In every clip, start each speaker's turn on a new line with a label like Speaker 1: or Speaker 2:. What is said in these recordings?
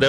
Speaker 1: det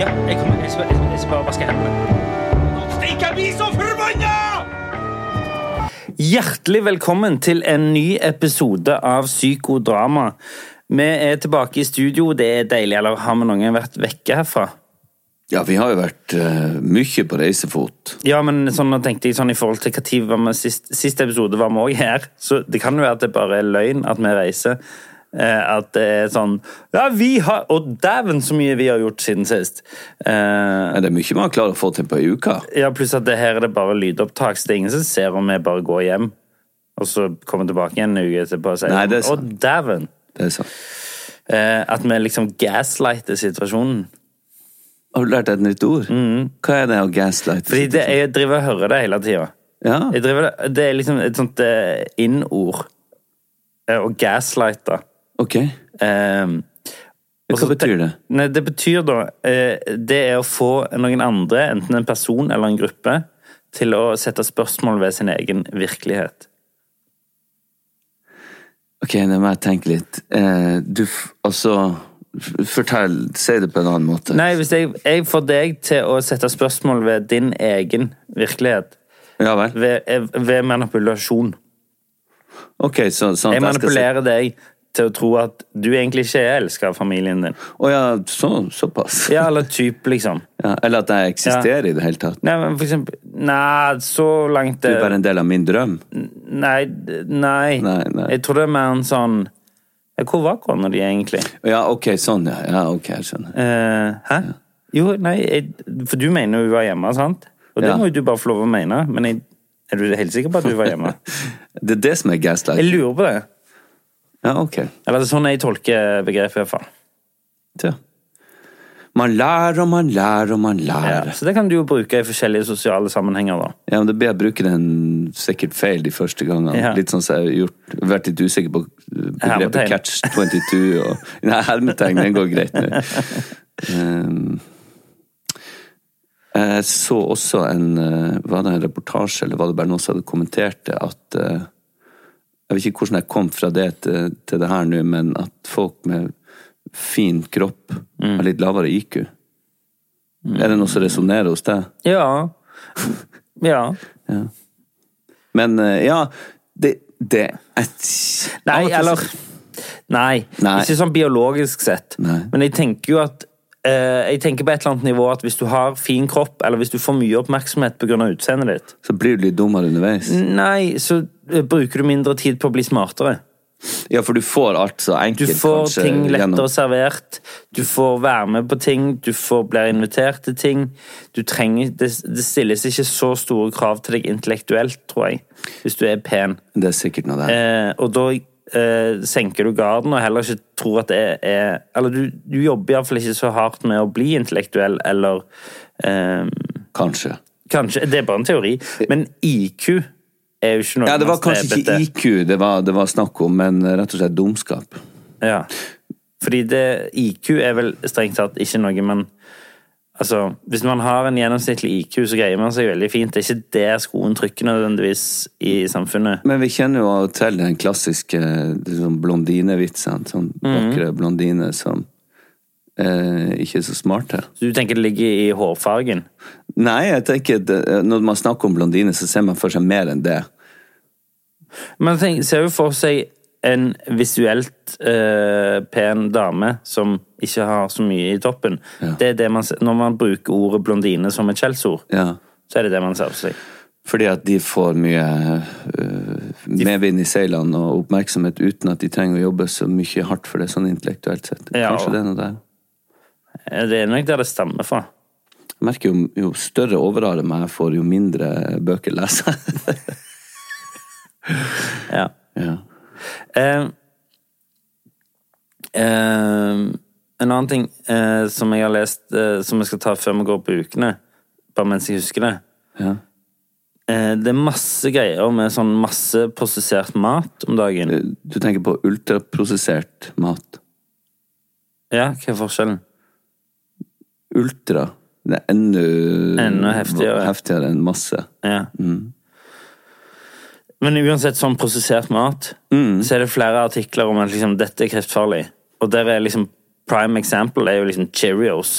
Speaker 2: Ja, jeg kommer, jeg skal, jeg skal- jeg skal bare vaske hendene.
Speaker 1: Stikk, jeg blir så forbanna!
Speaker 2: Hjertelig velkommen til en ny episode av Psykodrama. Vi er tilbake i studio, det er deilig, eller har vi noen vært vekke herfra?
Speaker 3: Ja, vi har jo vært eh, mye på reisefot.
Speaker 2: Ja, men sånn, nå tenkte jeg sånn i forhold til hva tid var vi sist, sist episode var vi også her, så det kan jo være at det bare er løgn at vi reiser. Eh, at det er sånn Ja, vi har Og dæven så mye vi har gjort siden sist! Eh,
Speaker 3: Er det mye man klarer å få til på ei uke?
Speaker 2: ja, pluss at det her er det bare lydopptak, så det er ingen som ser om vi bare går hjem, og så kommer tilbake igjen en uke etterpå og sier
Speaker 3: Nei, det
Speaker 2: Å,
Speaker 3: er sant.
Speaker 2: dæven!
Speaker 3: Det er sant.
Speaker 2: Eh, at vi liksom gaslighter situasjonen.
Speaker 3: Har du lært deg et nytt ord? Hva er det å gaslight?
Speaker 2: Mm. Fordi det, jeg driver og hører det hele tida.
Speaker 3: Ja,
Speaker 2: Jeg driver, det er liksom et sånt eh, inn-ord. Eh, Å gaslighte.
Speaker 3: ok.
Speaker 2: Ehm, og
Speaker 3: Hva
Speaker 2: så te-
Speaker 3: betyr det?
Speaker 2: Nei, det betyr da eh, Det er å få noen andre, enten en person eller en gruppe, til å sette spørsmål ved sin egen virkelighet.
Speaker 3: Ok, nå må jeg tenke litt. Eh, du, f- altså f- Fortell, si det på en annen måte.
Speaker 2: Nei, hvis jeg, jeg får deg til å sette spørsmål ved din egen virkelighet,
Speaker 3: Ja vel.
Speaker 2: ved, eh, ved manipulasjon
Speaker 3: Ok, så, sånn
Speaker 2: Jeg
Speaker 3: at jeg skal si
Speaker 2: manipulerer deg til å tro at du egentlig ikke er elska av familien din.
Speaker 3: Å ja, så, såpass?
Speaker 2: Ja, eller typ, liksom.
Speaker 3: Ja, eller at jeg eksisterer i det hele tatt?
Speaker 2: Nei, men for eksempel Nei, så langt eh,
Speaker 3: Du
Speaker 2: det
Speaker 3: er bare en del av min drøm?
Speaker 2: Nei, d- nei.
Speaker 3: Nei, nei.
Speaker 2: Jeg tror det er mer en sånn ja, Hvor var kona di egentlig?
Speaker 3: Ja, ok, sånn, ja. ja ok, jeg skjønner.
Speaker 2: Eh, hæ? Jo, nei, jeg, for du mener jo hun var hjemme, sant? Og det
Speaker 3: Ja.
Speaker 2: må jo du bare få lov å mene, men jeg, er du helt sikker på at du var hjemme?
Speaker 3: Det er det som er
Speaker 2: Jeg
Speaker 3: gaslight?
Speaker 2: lurer på det.
Speaker 3: Ja, ok.
Speaker 2: Eller sånn jeg tolker begrepet, i hvert fall.
Speaker 3: Ja. Man lærer og man lærer og man lærer.
Speaker 2: Ja,
Speaker 3: Ja,
Speaker 2: så det kan du jo bruke i forskjellige sosiale sammenhenger, da.
Speaker 3: men Det blir jeg bruker den sikkert feil de første gangene.
Speaker 2: Ja.
Speaker 3: Litt sånn som jeg har gjort, vært litt usikker på
Speaker 2: Hermetegn.
Speaker 3: begrepet catch 22 og Nei, hermetegn, den går greit nå. Um, jeg så også en eh, Var det en reportasje, eller var det bare noen som hadde kommentert det, at eh, Jeg vet ikke hvordan jeg kom fra det til, til det her nå, men at folk med fin kropp
Speaker 2: Mm.
Speaker 3: har litt lavere IQ. Er det noe som resonnerer hos deg?
Speaker 2: Ja. Ja.
Speaker 3: Men eh, ja, det, det et,
Speaker 2: Nei,
Speaker 3: av og til så-
Speaker 2: eller nei,
Speaker 3: Nei.
Speaker 2: Ikke sånn biologisk sett.
Speaker 3: Nei.
Speaker 2: Men jeg tenker jo at eh, Jeg tenker på et eller annet nivå at hvis du har fin kropp, eller hvis du får mye oppmerksomhet pga. utseendet ditt,
Speaker 3: Så blir du litt dummere underveis.
Speaker 2: Mm. nei, så eh, bruker du mindre tid på å bli smartere.
Speaker 3: Ja, for du får alt så
Speaker 2: Du
Speaker 3: enkelt,
Speaker 2: får
Speaker 3: kanskje,
Speaker 2: ting lettere
Speaker 3: gjennom-
Speaker 2: servert, du får være med på ting, du får blir invitert til ting. Du trenger, det, det stilles ikke så store krav til deg intellektuelt, tror jeg, hvis du er pen.
Speaker 3: Det er sikkert noe der.
Speaker 2: Eh, og da eh, senker du garden og heller ikke tror at det er Eller du, du jobber iallfall ikke så hardt med å bli intellektuell, eller eh,
Speaker 3: Kanskje.
Speaker 2: Kanskje Det er bare en teori, men IQ er jo ikke noe
Speaker 3: Ja, det var
Speaker 2: man
Speaker 3: kanskje
Speaker 2: streber
Speaker 3: ikke
Speaker 2: etter.
Speaker 3: IQ det var, det var snakk om, men rett og slett dumskap.
Speaker 2: Ja. Fordi det, IQ er vel strengt tatt ikke noe man Altså, hvis man har en gjennomsnittlig IQ, så greier man seg veldig fint. Det er ikke der skoen trykker nødvendigvis i samfunnet.
Speaker 3: Men vi kjenner jo til den klassiske liksom, blondinevitsen. Sånn
Speaker 2: Mhm.
Speaker 3: vakre blondiner som eh, ikke er så smarte.
Speaker 2: Så du tenker det ligger i hårfargen?
Speaker 3: Nei, jeg tenker det, når man snakker om blondiner, så ser man for seg mer enn det.
Speaker 2: Man tenk, ser jo for seg en visuelt eh, pen dame som ikke har så mye i toppen. Det er det man, ser- når man bruker ordet blondine som et skjellsord,
Speaker 3: Ja.
Speaker 2: så er det det man ser for seg.
Speaker 3: Fordi at de får mye øh, medvind i seilene og oppmerksomhet uten at de trenger å jobbe så mye hardt for det, sånn intellektuelt sett.
Speaker 2: Ja.
Speaker 3: Kanskje det er noe der.
Speaker 2: Eh, Det er nok der det stammer fra.
Speaker 3: Jeg merker jo, jo større overarm jeg får, jo mindre bøker leser jeg.
Speaker 2: Ja.
Speaker 3: ja.
Speaker 2: Eh, eh, en annen ting eh, som jeg har lest, eh, som jeg skal ta før vi går på ukene, flashback mens jeg husker det.
Speaker 3: Ja.
Speaker 2: Eh, Det er masse greier med sånn masse prosessert mat om dagen.
Speaker 3: Du tenker på ultraprosessert mat.
Speaker 2: Ja, hva er forskjellen?
Speaker 3: Ultra. Det er enda,
Speaker 2: Enda heftigere.
Speaker 3: heftigere enn masse.
Speaker 2: Ja. Men uansett sånn prosessert mat, så er det flere artikler om at liksom, dette er kreftfarlig. Og der er liksom prime example er jo liksom Cheerios.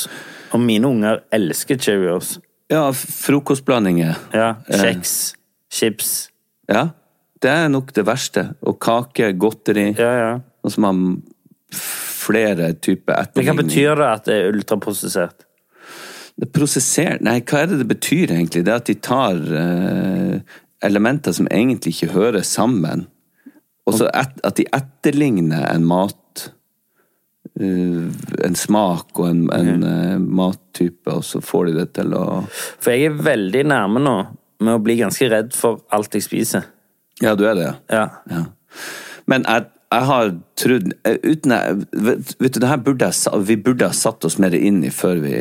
Speaker 2: Og mine unger elsker Cheerios.
Speaker 3: Ja, f- frokostblandinger.
Speaker 2: Ja,
Speaker 3: Eh,
Speaker 2: Kjeks, chips.
Speaker 3: Ja. Det er nok det verste. Og kake, godteri.
Speaker 2: Ja, ja.
Speaker 3: Og så har man flere typer
Speaker 2: Men hva
Speaker 3: etterligning.
Speaker 2: betyr det at det er ultraprosessert?
Speaker 3: Det prosesser... Nei, hva er det det betyr egentlig? Det er at de tar eh, elementer som egentlig ikke hører sammen, og så et, at de etterligner en mat eh, En smak og en, en eh, mattype, og så får de det til å
Speaker 2: For jeg er veldig nærme nå med å bli ganske redd for alt jeg spiser.
Speaker 3: Ja, du er det,
Speaker 2: Ja.
Speaker 3: Ja. Men jeg, jeg har trodd eh, uten jeg, vet, vet du, det her burde jeg, sa- Vi burde ha satt oss mer inn i før vi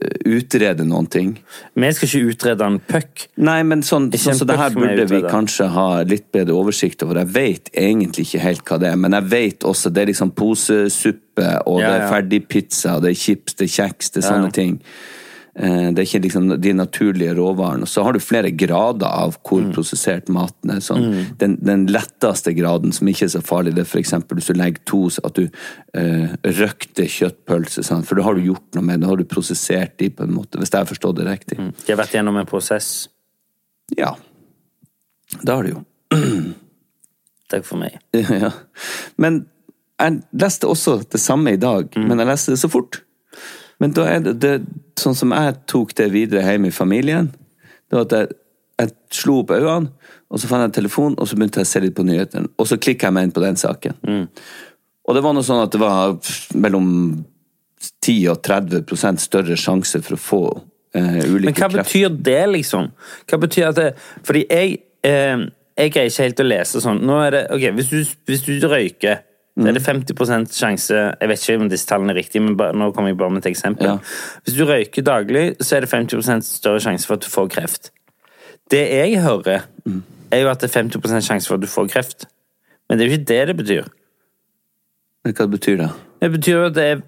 Speaker 3: eh, utreder noen ting.
Speaker 2: Vi skal ikke utrede en puck.
Speaker 3: Nei, men sånn,
Speaker 2: er
Speaker 3: sånn så det her
Speaker 2: kjempeflott med
Speaker 3: burde vi
Speaker 2: utredet.
Speaker 3: kanskje ha litt bedre oversikt over. Jeg vet egentlig ikke helt hva det er, men jeg vet også det er liksom posesuppe, og
Speaker 2: Ja,
Speaker 3: det er
Speaker 2: ja.
Speaker 3: ferdig pizza, og det er chips, det er kjeks, det er sånne ting. Eh, Det er ikke liksom de naturlige råvarene. Og Så har du flere grader av hvor prosessert maten er. Sånn.
Speaker 2: Mm.
Speaker 3: Den, den letteste graden, som ikke er så farlig, det er f.eks. hvis du legger to At du eh, røkter kjøttpølser, sant? for da har du gjort noe med det. Da har du prosessert de på en måte, hvis jeg har forstått det riktig.
Speaker 2: De har vært gjennom en prosess.
Speaker 3: Ja. Det har du jo.
Speaker 2: Takk for meg.
Speaker 3: ja. Men jeg leste også det samme i dag,
Speaker 2: Mm.
Speaker 3: men jeg leste det så fort. Men da er det, det sånn som jeg tok det videre hjemme i familien, det var at jeg, jeg slo opp øynene, og så fant jeg telefonen, og så begynte jeg å se litt på nyhetene. Og så klikka jeg meg inn på den saken.
Speaker 2: Mm.
Speaker 3: Og det var noe sånn at det var mellom 10 og 30 større sjanse for å få eh, ulike
Speaker 2: Men hva
Speaker 3: krefter.
Speaker 2: betyr det, liksom? Hva betyr at det Fordi jeg eh, Jeg greier ikke helt å lese sånn. Nå er det Ok, hvis du, hvis du røyker så er det 50 sjanse Jeg vet ikke om disse tallene er riktige, men bare, nå kommer jeg bare med et eksempel.
Speaker 3: Ja.
Speaker 2: Hvis du røyker daglig, så er det 50 større sjanse for at du får kreft. Det jeg hører, er jo at det er 50 sjanse for at du får kreft. Men det er jo ikke det det betyr.
Speaker 3: Hva betyr det?
Speaker 2: Det betyr jo at det er,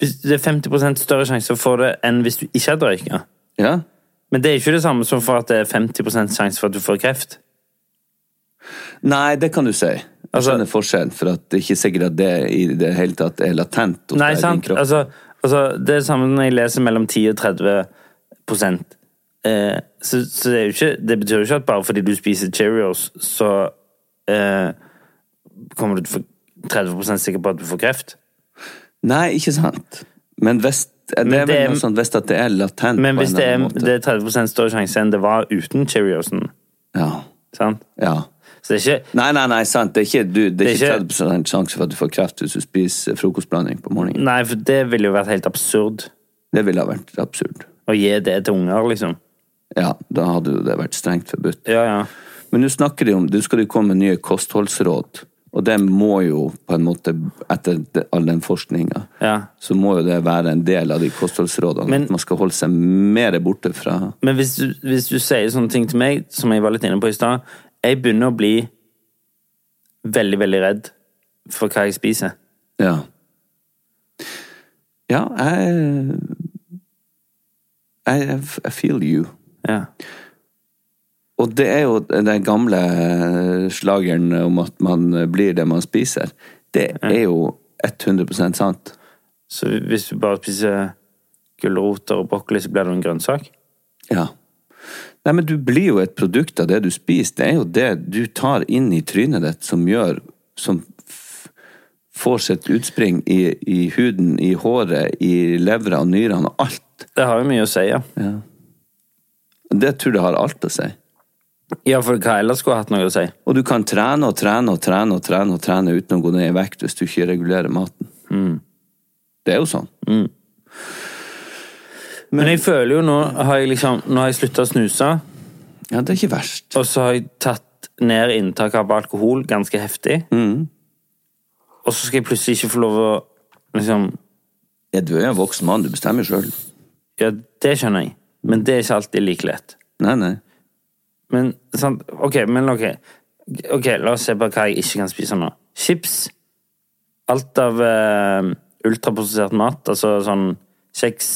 Speaker 2: hvis det er 50 større sjanse for å få det enn hvis du ikke hadde røyka.
Speaker 3: Ja?
Speaker 2: Men det er ikke det samme som for at det er 50 sjanse for at du får kreft.
Speaker 3: Nei, det kan du si. Jeg
Speaker 2: Altså-
Speaker 3: skjønner forskjellen, for at det er ikke sikkert at det i det hele tatt er latent. hos
Speaker 2: Nei,
Speaker 3: deg i din
Speaker 2: sant?
Speaker 3: kropp.
Speaker 2: Altså, altså, det er det samme når jeg leser mellom 10 og 30 eh, Så, så det, er jo ikke, det betyr jo ikke at bare fordi du spiser Cheerios, så eh, kommer du til å få 30 sikker på at du får kreft.
Speaker 3: Nei, ikke sant. Men hvis det er
Speaker 2: det er-
Speaker 3: vel noe sånt hvis at det er latent
Speaker 2: Men
Speaker 3: på
Speaker 2: hvis
Speaker 3: en
Speaker 2: det
Speaker 3: eller
Speaker 2: er,
Speaker 3: annen måte.
Speaker 2: det er 30 større sjanse enn det var uten Cheeriosen,
Speaker 3: Ja.
Speaker 2: sant?
Speaker 3: ja.
Speaker 2: Så det er ikke
Speaker 3: Nei, nei, nei, sant. Det er ikke, du, det er
Speaker 2: Det er
Speaker 3: ikke
Speaker 2: ikke-
Speaker 3: 30 sjanse for at du får kreft hvis du spiser frokostblanding på morgenen.
Speaker 2: Nei, for det ville jo vært helt absurd
Speaker 3: Det ville ha vært absurd.
Speaker 2: å gi det til unger, liksom.
Speaker 3: Ja, da hadde jo det vært strengt forbudt.
Speaker 2: Ja, ja.
Speaker 3: Men nå snakker de om Du skal jo komme med nye kostholdsråd, og det må jo på en måte, etter det- all den forskninga,
Speaker 2: Ja.
Speaker 3: så må jo det være en del av de kostholdsrådene.
Speaker 2: Men-
Speaker 3: at man skal holde seg mer borte fra
Speaker 2: Men hvis du, hvis du sier sånne ting til meg, som jeg var litt inne på i stad Jeg begynner å bli veldig, veldig redd for hva jeg spiser.
Speaker 3: Ja. Ja, jeg Jeg, jeg feel you.
Speaker 2: Ja.
Speaker 3: Og det er jo den gamle slageren om at man blir det man spiser. Det er jo 100 sant.
Speaker 2: Så hvis du bare spiser gulroter og brokkoli, så blir det en grønnsak?
Speaker 3: Ja. Nei, men du blir jo et produkt av det du spiser. Det er jo det du tar inn i trynet ditt som gjør Som f får sitt utspring i, i huden, i håret, i levra og nyrene og alt.
Speaker 2: Det har jo mye å si, ja.
Speaker 3: Det tror jeg har alt å si.
Speaker 2: Ja, for hva ellers skulle hatt noe å si?
Speaker 3: Og du kan trene og trene og trene og trene og trene uten å gå ned i vekt hvis du ikke regulerer maten. Det er jo sånn.
Speaker 2: Men jeg føler jo nå har jeg liksom Nå har jeg slutta å snuse,
Speaker 3: Ja, det er ikke verst.
Speaker 2: og så har jeg tatt ned inntaket av alkohol ganske heftig. Og så skal jeg plutselig ikke få lov å liksom
Speaker 3: Ja, du er jo en voksen mann, du bestemmer sjøl.
Speaker 2: Ja, det skjønner jeg, men det er ikke alltid like lett.
Speaker 3: Nei, nei.
Speaker 2: Men sant, ok, men ok. Ok, la oss se på hva jeg ikke kan spise nå. Chips. Alt av eh, ultraprosessert mat, altså sånn kjeks,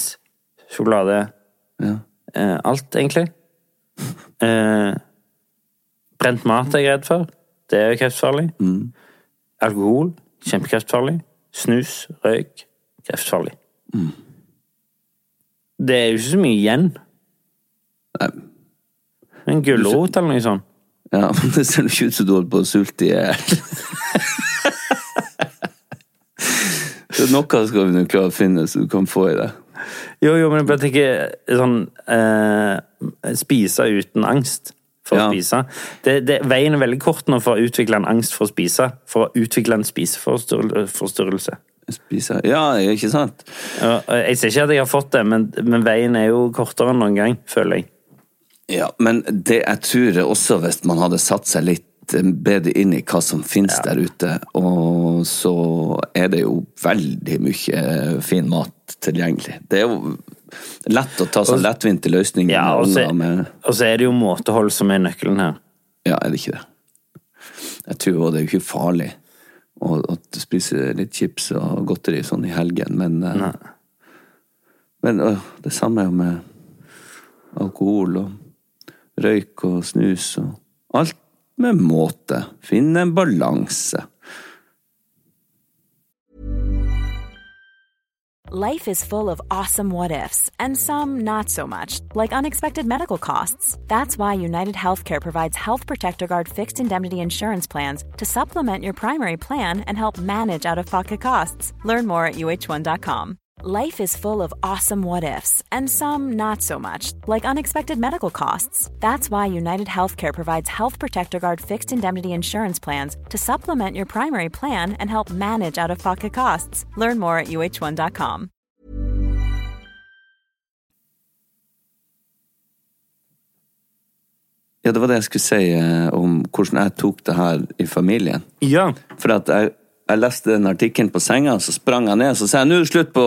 Speaker 2: sjokolade.
Speaker 3: Ja.
Speaker 2: eh, alt, egentlig. Eh, brent mat er jeg redd for. Det er jo kreftfarlig. Alkohol. Kjempekreftfarlig. Snus. Røyk. Kreftfarlig. Det er jo ikke så mye igjen.
Speaker 3: Nei.
Speaker 2: En gulrot eller noe sånt.
Speaker 3: Ja, men det ser jo ikke ut som du holder på å sulte i hjel. Så Noe skal vi nå klare å finne så du kan få i deg.
Speaker 2: Jo, jo, men jeg bare tenker sånn eh, Spise uten angst for
Speaker 3: Ja.
Speaker 2: å spise. Det, det, veien er veldig kort nå for å utvikle en angst for å spise. For å utvikle en spiseforstyrrelse.
Speaker 3: Spise Ja, ikke sant?
Speaker 2: Ja, Jeg ser ikke at jeg har fått det, men, men veien er jo kortere enn noen gang, føler jeg.
Speaker 3: Ja, men det jeg tror er også hvis man hadde satt seg litt bedre inn i hva som finnes der ute, og så er det jo veldig mye fin mat tilgjengelig. Det er jo lett å ta sånn lettvinte løsninger
Speaker 2: Ja, og
Speaker 3: med
Speaker 2: så,
Speaker 3: unger med
Speaker 2: og så er det jo måtehold som er nøkkelen her.
Speaker 3: Ja, er det ikke det? Jeg tror også det er jo ikke farlig å, å spise litt chips og godteri sånn i helgen, men eh, Men øh, det samme er jo med alkohol og røyk og snus og Alt med måte. Finne en balanse.
Speaker 4: Life is full of awesome what ifs, and some not so much, like unexpected medical costs. That's why United Healthcare provides Health Protector Guard fixed indemnity insurance plans to supplement your primary plan and help manage out of pocket costs. Learn more at uh1.com. Life is full of awesome what ifs, and some not so much, like unexpected medical costs. That's why United Healthcare provides Health Protector Guard fixed indemnity insurance plans to supplement your primary plan and help manage out of pocket costs. Learn more at uh1.com.
Speaker 3: Ja, det var det jeg skulle si eh, om hvordan jeg tok det her i familien.
Speaker 2: Ja.
Speaker 3: For at jeg, jeg leste den artikkelen på senga, så sprang jeg ned og sa jeg, nå er det slutt på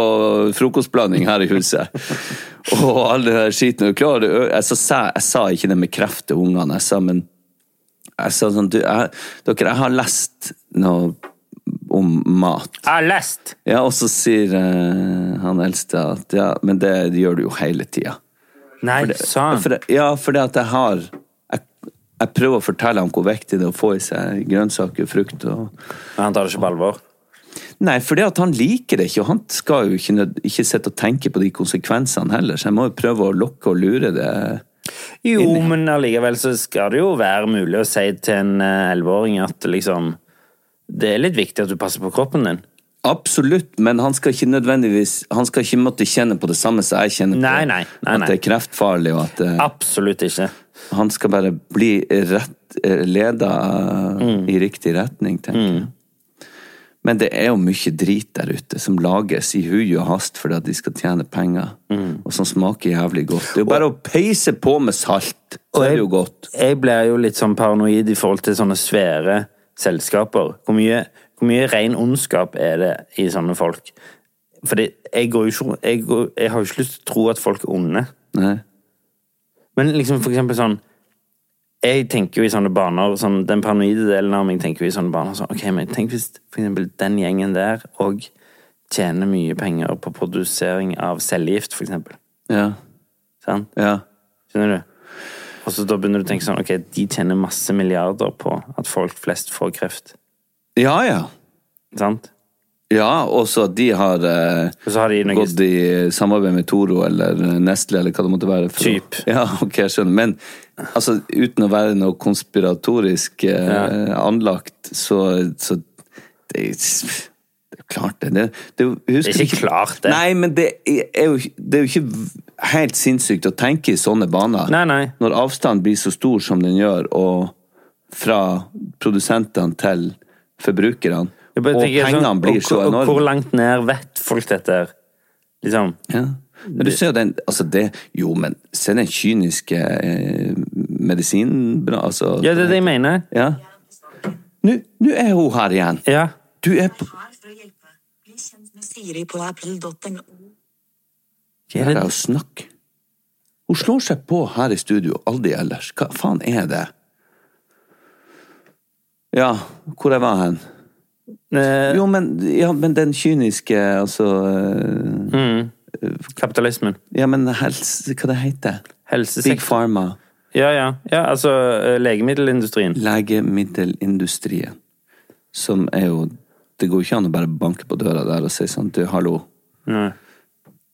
Speaker 3: frokostblanding her i huset. og all den der skiten er klar. Jeg, så sa, jeg sa ikke det med kreft til ungene, jeg sa, men jeg sa sånn, du, jeg, dere, jeg har lest noe om mat.
Speaker 2: Jeg har lest!
Speaker 3: Ja, og så sier eh, han eldste at ja, men det, gjør du jo hele tida.
Speaker 2: Nei, sånn. sa han.
Speaker 3: For, ja, fordi at jeg har jeg, jeg prøver å fortelle ham hvor viktig det er å få i seg grønnsaker, frukt og
Speaker 2: Men han tar det ikke på alvor.
Speaker 3: Nei, fordi at han liker det ikke, og han skal jo ikke, nød- ikke sitte og tenke på de konsekvensene heller, så jeg må jo prøve å lokke og lure det.
Speaker 2: Jo, men allikevel så skal det jo være mulig å si til en eh, elleveåring at liksom Det er litt viktig at du passer på kroppen din.
Speaker 3: Mm. Absolutt, men han skal ikke nødvendigvis Han skal ikke måtte kjenne på det samme som jeg kjenner på.
Speaker 2: Nei, nei, nei, nei.
Speaker 3: At det er kreftfarlig, og at det,
Speaker 2: Absolutt ikke.
Speaker 3: han skal bare bli rett, eh, leda eh,
Speaker 2: Mm.
Speaker 3: i riktig retning, tenker jeg. Men det er jo mye drit der ute som lages i hui og hast fordi at de skal tjene penger,
Speaker 2: Mm.
Speaker 3: og som smaker jævlig godt. Det er jo bare å peise på med salt, så er det jo godt.
Speaker 2: Jeg blir jo litt sånn paranoid i forhold til sånne svære selskaper. Hvor mye, hvor mye ren ondskap er det i sånne folk? Fordi jeg, går jo ikke, jeg, går, jeg har jo ikke lyst til å tro at folk er onde.
Speaker 3: Nei.
Speaker 2: Men liksom for eksempel sånn Jeg tenker jo i sånne baner sånn, Den paranoide delen av meg tenker jo i sånne baner sånn, Ok, men tenk hvis for eksempel den gjengen der Og tjener mye penger på produsering av cellegift for eksempel
Speaker 3: Ja.
Speaker 2: Sant?
Speaker 3: Ja.
Speaker 2: Skjønner du? Og så da begynner du å tenke sånn Ok, de tjener masse milliarder på at folk flest får kreft
Speaker 3: Ja, ja.
Speaker 2: Sant?
Speaker 3: Ja, og så at de har eh,
Speaker 2: Og så har de noe
Speaker 3: gått i samarbeid med Toro eller eh, Nestle eller hva det måtte være. for å-
Speaker 2: Typ.
Speaker 3: Ja, ok, jeg skjønner. Men altså, uten å være noe konspiratorisk eh, anlagt, så, så det, er- det er jo klart det. Det, det, er jo- husker
Speaker 2: Det er ikke
Speaker 3: du-
Speaker 2: klart, det.
Speaker 3: Nei, men det er, jo, ikke- det er jo ikke helt sinnssykt å tenke i sånne baner.
Speaker 2: Nei, nei.
Speaker 3: Når avstanden blir så stor som den gjør, og fra produsentene til forbrukerne,
Speaker 2: Jeg
Speaker 3: og
Speaker 2: bare tenker
Speaker 3: pengene
Speaker 2: sånn,
Speaker 3: blir
Speaker 2: og
Speaker 3: så
Speaker 2: hvor-
Speaker 3: enorme.
Speaker 2: Og hvor langt ned vet folk dette her? Liksom
Speaker 3: Ja. Men du ser jo den altså det, Jo, men se den kyniske eh, medisinen bra, altså,
Speaker 2: Ja, det er det jeg mener
Speaker 3: Ja. Nå, nå er hun her igjen!
Speaker 2: Ja
Speaker 3: Du er på
Speaker 5: her for å hjelpe. Bli kjent med Siri på apple.no.
Speaker 3: Hva er det å snakke? Hun slår seg på her i studio, aldri ellers. Hva faen er det? Ja, hvor jeg var hen?
Speaker 2: Eh,
Speaker 3: Jo, men, ja, men den kyniske, altså eh,
Speaker 2: kapitalismen.
Speaker 3: Ja, men helse... Hva det heter Big
Speaker 2: Helsesektor.
Speaker 3: Pharma.
Speaker 2: Ja, ja. ja altså eh, legemiddelindustrien.
Speaker 3: Legemiddelindustrien. Som er jo Det går jo ikke an å bare banke på døra der og si sånn Du, hallo.
Speaker 2: Nei.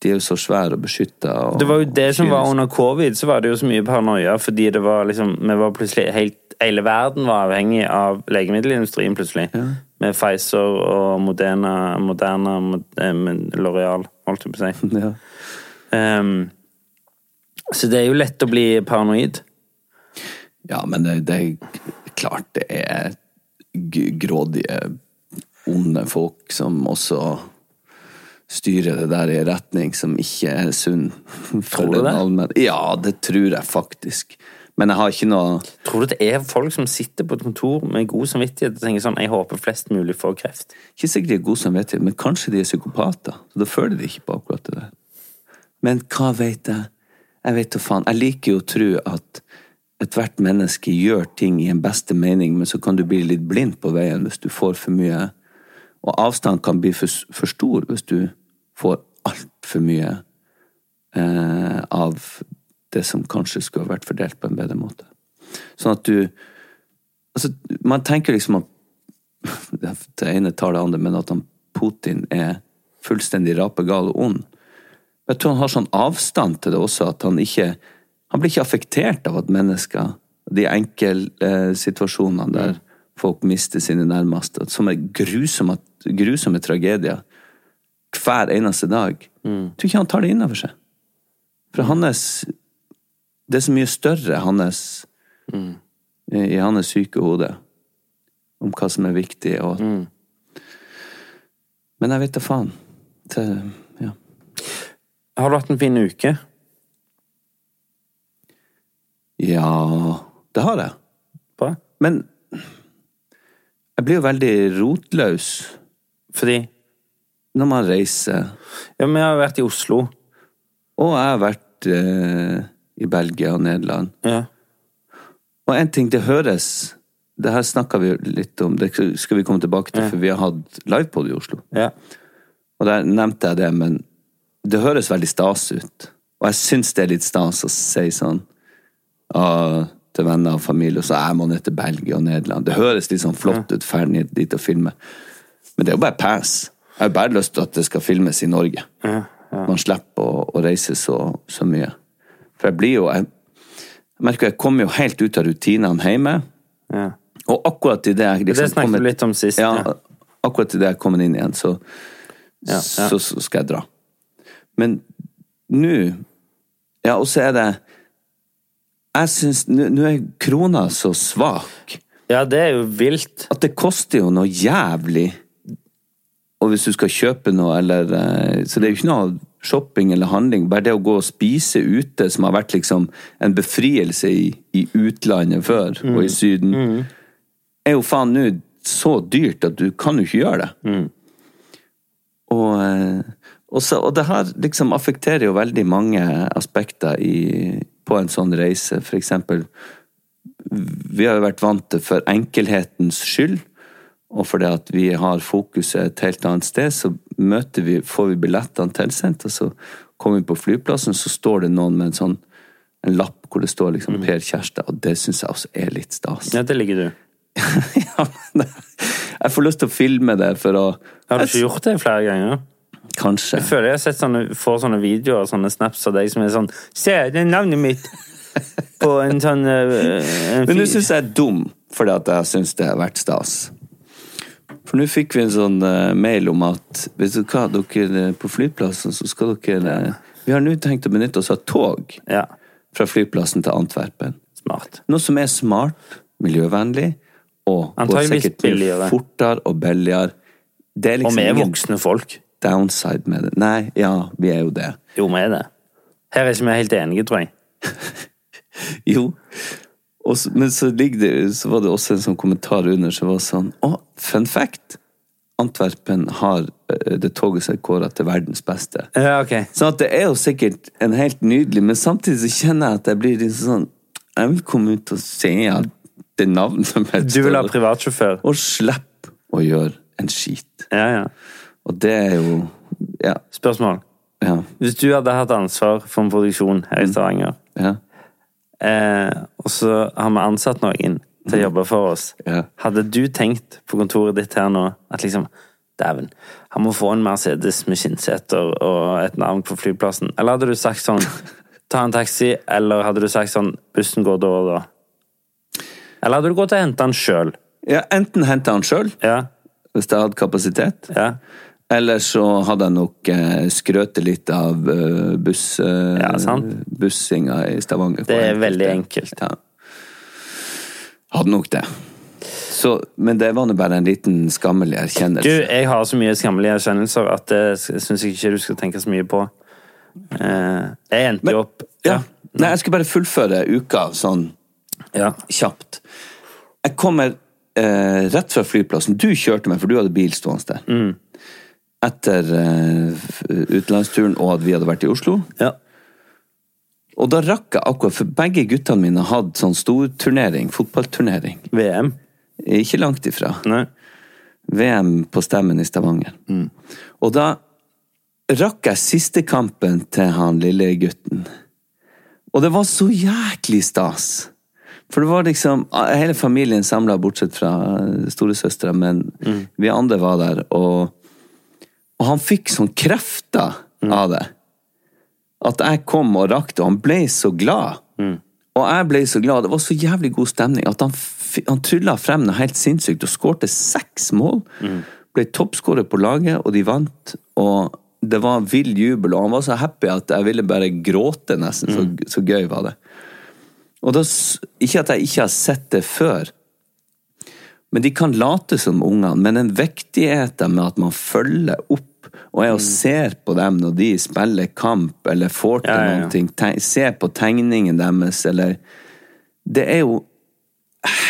Speaker 3: De er jo så svære og beskytta.
Speaker 2: Det var jo det som var under covid, så var det jo så mye paranoia fordi det var liksom Vi var plutselig helt Hele verden var avhengig av legemiddelindustrien, plutselig. Med Pfizer og Modena, Moderna, Mod- eh, men L'Oreal, holdt jeg på å si.
Speaker 3: ja.
Speaker 2: Ehm, så det er jo lett å bli paranoid.
Speaker 3: ja, men det, det er klart det er g- grådige, onde folk som også styrer det der i en retning som ikke er sunn. for
Speaker 2: Tror du
Speaker 3: den
Speaker 2: det?
Speaker 3: allmenne- Ja, det tror jeg faktisk. Men jeg har ikke noe
Speaker 2: Tror du det er folk som sitter på et kontor med god samvittighet og tenker sånn Jeg håper flest mulig får kreft.
Speaker 3: Ikke sikkert de er gode samvittighet, men kanskje de er psykopater. Så da føler de ikke på akkurat det der. Men hva vet jeg? Jeg vet da faen. Jeg liker jo å tro at ethvert menneske gjør ting i en beste mening, men så kan du bli litt blind på veien hvis du får for mye Og avstand kan bli for, s- for stor hvis du får altfor mye eh, av det som kanskje skulle ha vært fordelt på en bedre måte. Sånn at du Altså, man tenker liksom at det det ene tar det andre, men at han, Putin er fullstendig rapegal og ond. Men Jeg tror han har sånn avstand til det også, at han ikke Han blir ikke affektert av at mennesker De enkeltsituasjonene der folk mister sine nærmeste, som er grusomme, grusomme tragedier hver eneste dag Jeg tror ikke han tar det innover seg. For hans Det er så mye større hans, i, i hans syke hode om hva som er viktig. Og... Men jeg vet da faen. Det, ja.
Speaker 2: Har du hatt en fin uke?
Speaker 3: ja, det har jeg.
Speaker 2: Bra.
Speaker 3: Men jeg blir jo veldig rotløs
Speaker 2: Fordi
Speaker 3: når man reiser.
Speaker 2: Ja, vi har vært i Oslo.
Speaker 3: Og jeg har vært eh, i Belgia og Nederland.
Speaker 2: Ja.
Speaker 3: Og en ting, det høres Det her snakka vi jo litt om, det skal vi komme tilbake til, for vi har hatt livepod i Oslo.
Speaker 2: ja.
Speaker 3: Og der nevnte jeg det, men det høres veldig stas ut. Og jeg syns det er litt stas å si sånn ah, til venner og familie, og så er man ned til Belgia og Nederland. Det høres litt sånn flott ut, ferdig dit og filme. Men det er jo bare pass. Jeg har bare lyst til at det skal filmes i Norge. Man slipper å, å reise så, så mye. For jeg blir jo jeg, jeg merker jeg kommer jo helt ut av rutinene hjemme.
Speaker 2: ja.
Speaker 3: Og akkurat idet jeg liksom
Speaker 2: Det snakket
Speaker 3: kommer-
Speaker 2: vi litt om sist,
Speaker 3: Ja,
Speaker 2: ja.
Speaker 3: akkurat idet jeg kom inn igjen, så,
Speaker 2: ja.
Speaker 3: Så, så skal jeg dra. Men nå Ja, og så er det Jeg syns Nå nå er krona så svak
Speaker 2: Ja, det er jo vilt.
Speaker 3: at det koster jo noe jævlig. Og hvis du skal kjøpe noe, eller eh, Så det er jo ikke noe shopping eller handling. Bare det å gå og spise ute, som har vært liksom en befrielse i, i utlandet før,
Speaker 2: Mm.
Speaker 3: og i Syden, er jo faen nå så dyrt at du kan jo ikke gjøre det. Og, eh, og, så, og det her liksom affekterer jo veldig mange aspekter i, på en sånn reise. For eksempel vi har jo vært vant til for enkelhetens skyld, og fordi at vi har fokuset et helt annet sted, så møter vi, får vi billettene tilsendt, og så kommer vi på flyplassen, så står det noen med en sånn en lapp hvor det står liksom Per Kjærstad, og det syns jeg også er litt stas.
Speaker 2: Ja, det ligger du.
Speaker 3: Ja, men jeg får lyst til å filme det for å
Speaker 2: Har du ikke gjort det flere ganger?
Speaker 3: Kanskje.
Speaker 2: Føler jeg har sett sånne, får sånne videoer og sånne snaps av deg som er sånn Se, det er navnet mitt! På en sånn eh, en
Speaker 3: Men nå
Speaker 2: fi-
Speaker 3: syns jeg er dum, fordi at jeg syns det har vært stas. For nå fikk vi en sånn eh, mail om at vet du hva, dere eh, på flyplassen så skal dere eh, Vi har nå tenkt å benytte oss av tog
Speaker 2: Ja.
Speaker 3: fra flyplassen til Antwerpen.
Speaker 2: Smart.
Speaker 3: Noe som er smart, miljøvennlig og går
Speaker 2: Antageligvis
Speaker 3: sikkert mye
Speaker 2: billigere.
Speaker 3: fortere og billigere. Det er
Speaker 2: Og
Speaker 3: liksom
Speaker 2: vi er
Speaker 3: ingen
Speaker 2: voksne folk.
Speaker 3: downside med det. Nei, ja, vi er jo det.
Speaker 2: Jo, vi er det. Her er ikke vi helt enige, tror jeg.
Speaker 3: Jo. Og så, men så, ligger det, så var det også en sånn kommentar under som var sånn Å, fun fact! Antwerpen har eh, det toget seg kåra til verdens beste.
Speaker 2: Ja, ok.
Speaker 3: Sånn at det er jo sikkert en helt nydelig, men samtidig så kjenner jeg at jeg blir litt sånn Jeg vil komme ut og se at det navnet som jeg
Speaker 2: Du vil ha
Speaker 3: står-
Speaker 2: privatsjåfør?
Speaker 3: Og slippe å gjøre en skit.
Speaker 2: Ja, ja.
Speaker 3: Og det er jo Ja.
Speaker 2: Spørsmål.
Speaker 3: Ja.
Speaker 2: Hvis du hadde hatt ansvar for en produksjon her i
Speaker 3: Mm.
Speaker 2: Stavanger,
Speaker 3: Ja.
Speaker 2: eh, og så har vi ansatt noen til å jobbe for oss,
Speaker 3: Ja.
Speaker 2: hadde du tenkt på kontoret ditt her nå at liksom Dæven, han må få en Mercedes med skinnseter og et navn på flyplassen. Eller hadde du sagt sånn Ta en taxi, eller hadde du sagt sånn Bussen går da og da. Eller hadde du gått og henta den sjøl?
Speaker 3: ja enten hente han sjøl,
Speaker 2: Ja.
Speaker 3: hvis jeg hadde kapasitet.
Speaker 2: Ja.
Speaker 3: Eller så hadde jeg nok eh, skrøtet litt av eh, buss, eh,
Speaker 2: Ja, sant.
Speaker 3: bussinga i Stavanger.
Speaker 2: Det er veldig enkelt.
Speaker 3: Ja. Hadde nok det. Så, men det var nå bare en liten skammelig
Speaker 2: Du,
Speaker 3: erkjennelse.
Speaker 2: jeg har så mye skammelige erkjennelser at det syns jeg ikke du skal tenke så mye på. Eh, jeg endte jo opp
Speaker 3: ja. Nei, jeg skulle bare fullføre uka sånn
Speaker 2: Ja.
Speaker 3: kjapt. Jeg kommer eh, rett fra flyplassen. Du kjørte meg, for du hadde bil stående der. Etter eh, f- utenlandsturen og at vi hadde vært i Oslo.
Speaker 2: ja.
Speaker 3: Og da rakk jeg akkurat, for begge guttene mine hadde sånn stor turnering, fotballturnering.
Speaker 2: VM.
Speaker 3: Ikke langt ifra.
Speaker 2: Nei.
Speaker 3: VM på Stemmen i Stavanger. Og da rakk jeg siste kampen til han lille gutten. Og det var så jæklig stas. For det var liksom Hele familien samla, bortsett fra eh, storesøstera, men vi andre var der, og, og han fikk sånn krefter av det. At jeg kom og rakk det, og han ble så glad. Og jeg ble så glad. Det var så jævlig god stemning at han, f- han trylla frem noe helt sinnssykt og skårte seks mål. Ble toppskårer på laget, og de vant. Og det var vill jubel, og han var så happy at jeg ville bare gråte, nesten. Så, så gøy var det. Og da, s- Ikke at jeg ikke har sett det før, men de kan late som ungene. Men den viktigheten med at man følger opp og er og
Speaker 2: Mm.
Speaker 3: ser på dem når de spiller kamp eller får til
Speaker 2: Ja, ja, ja.
Speaker 3: noen ting, te- ser på tegningen deres eller Det er jo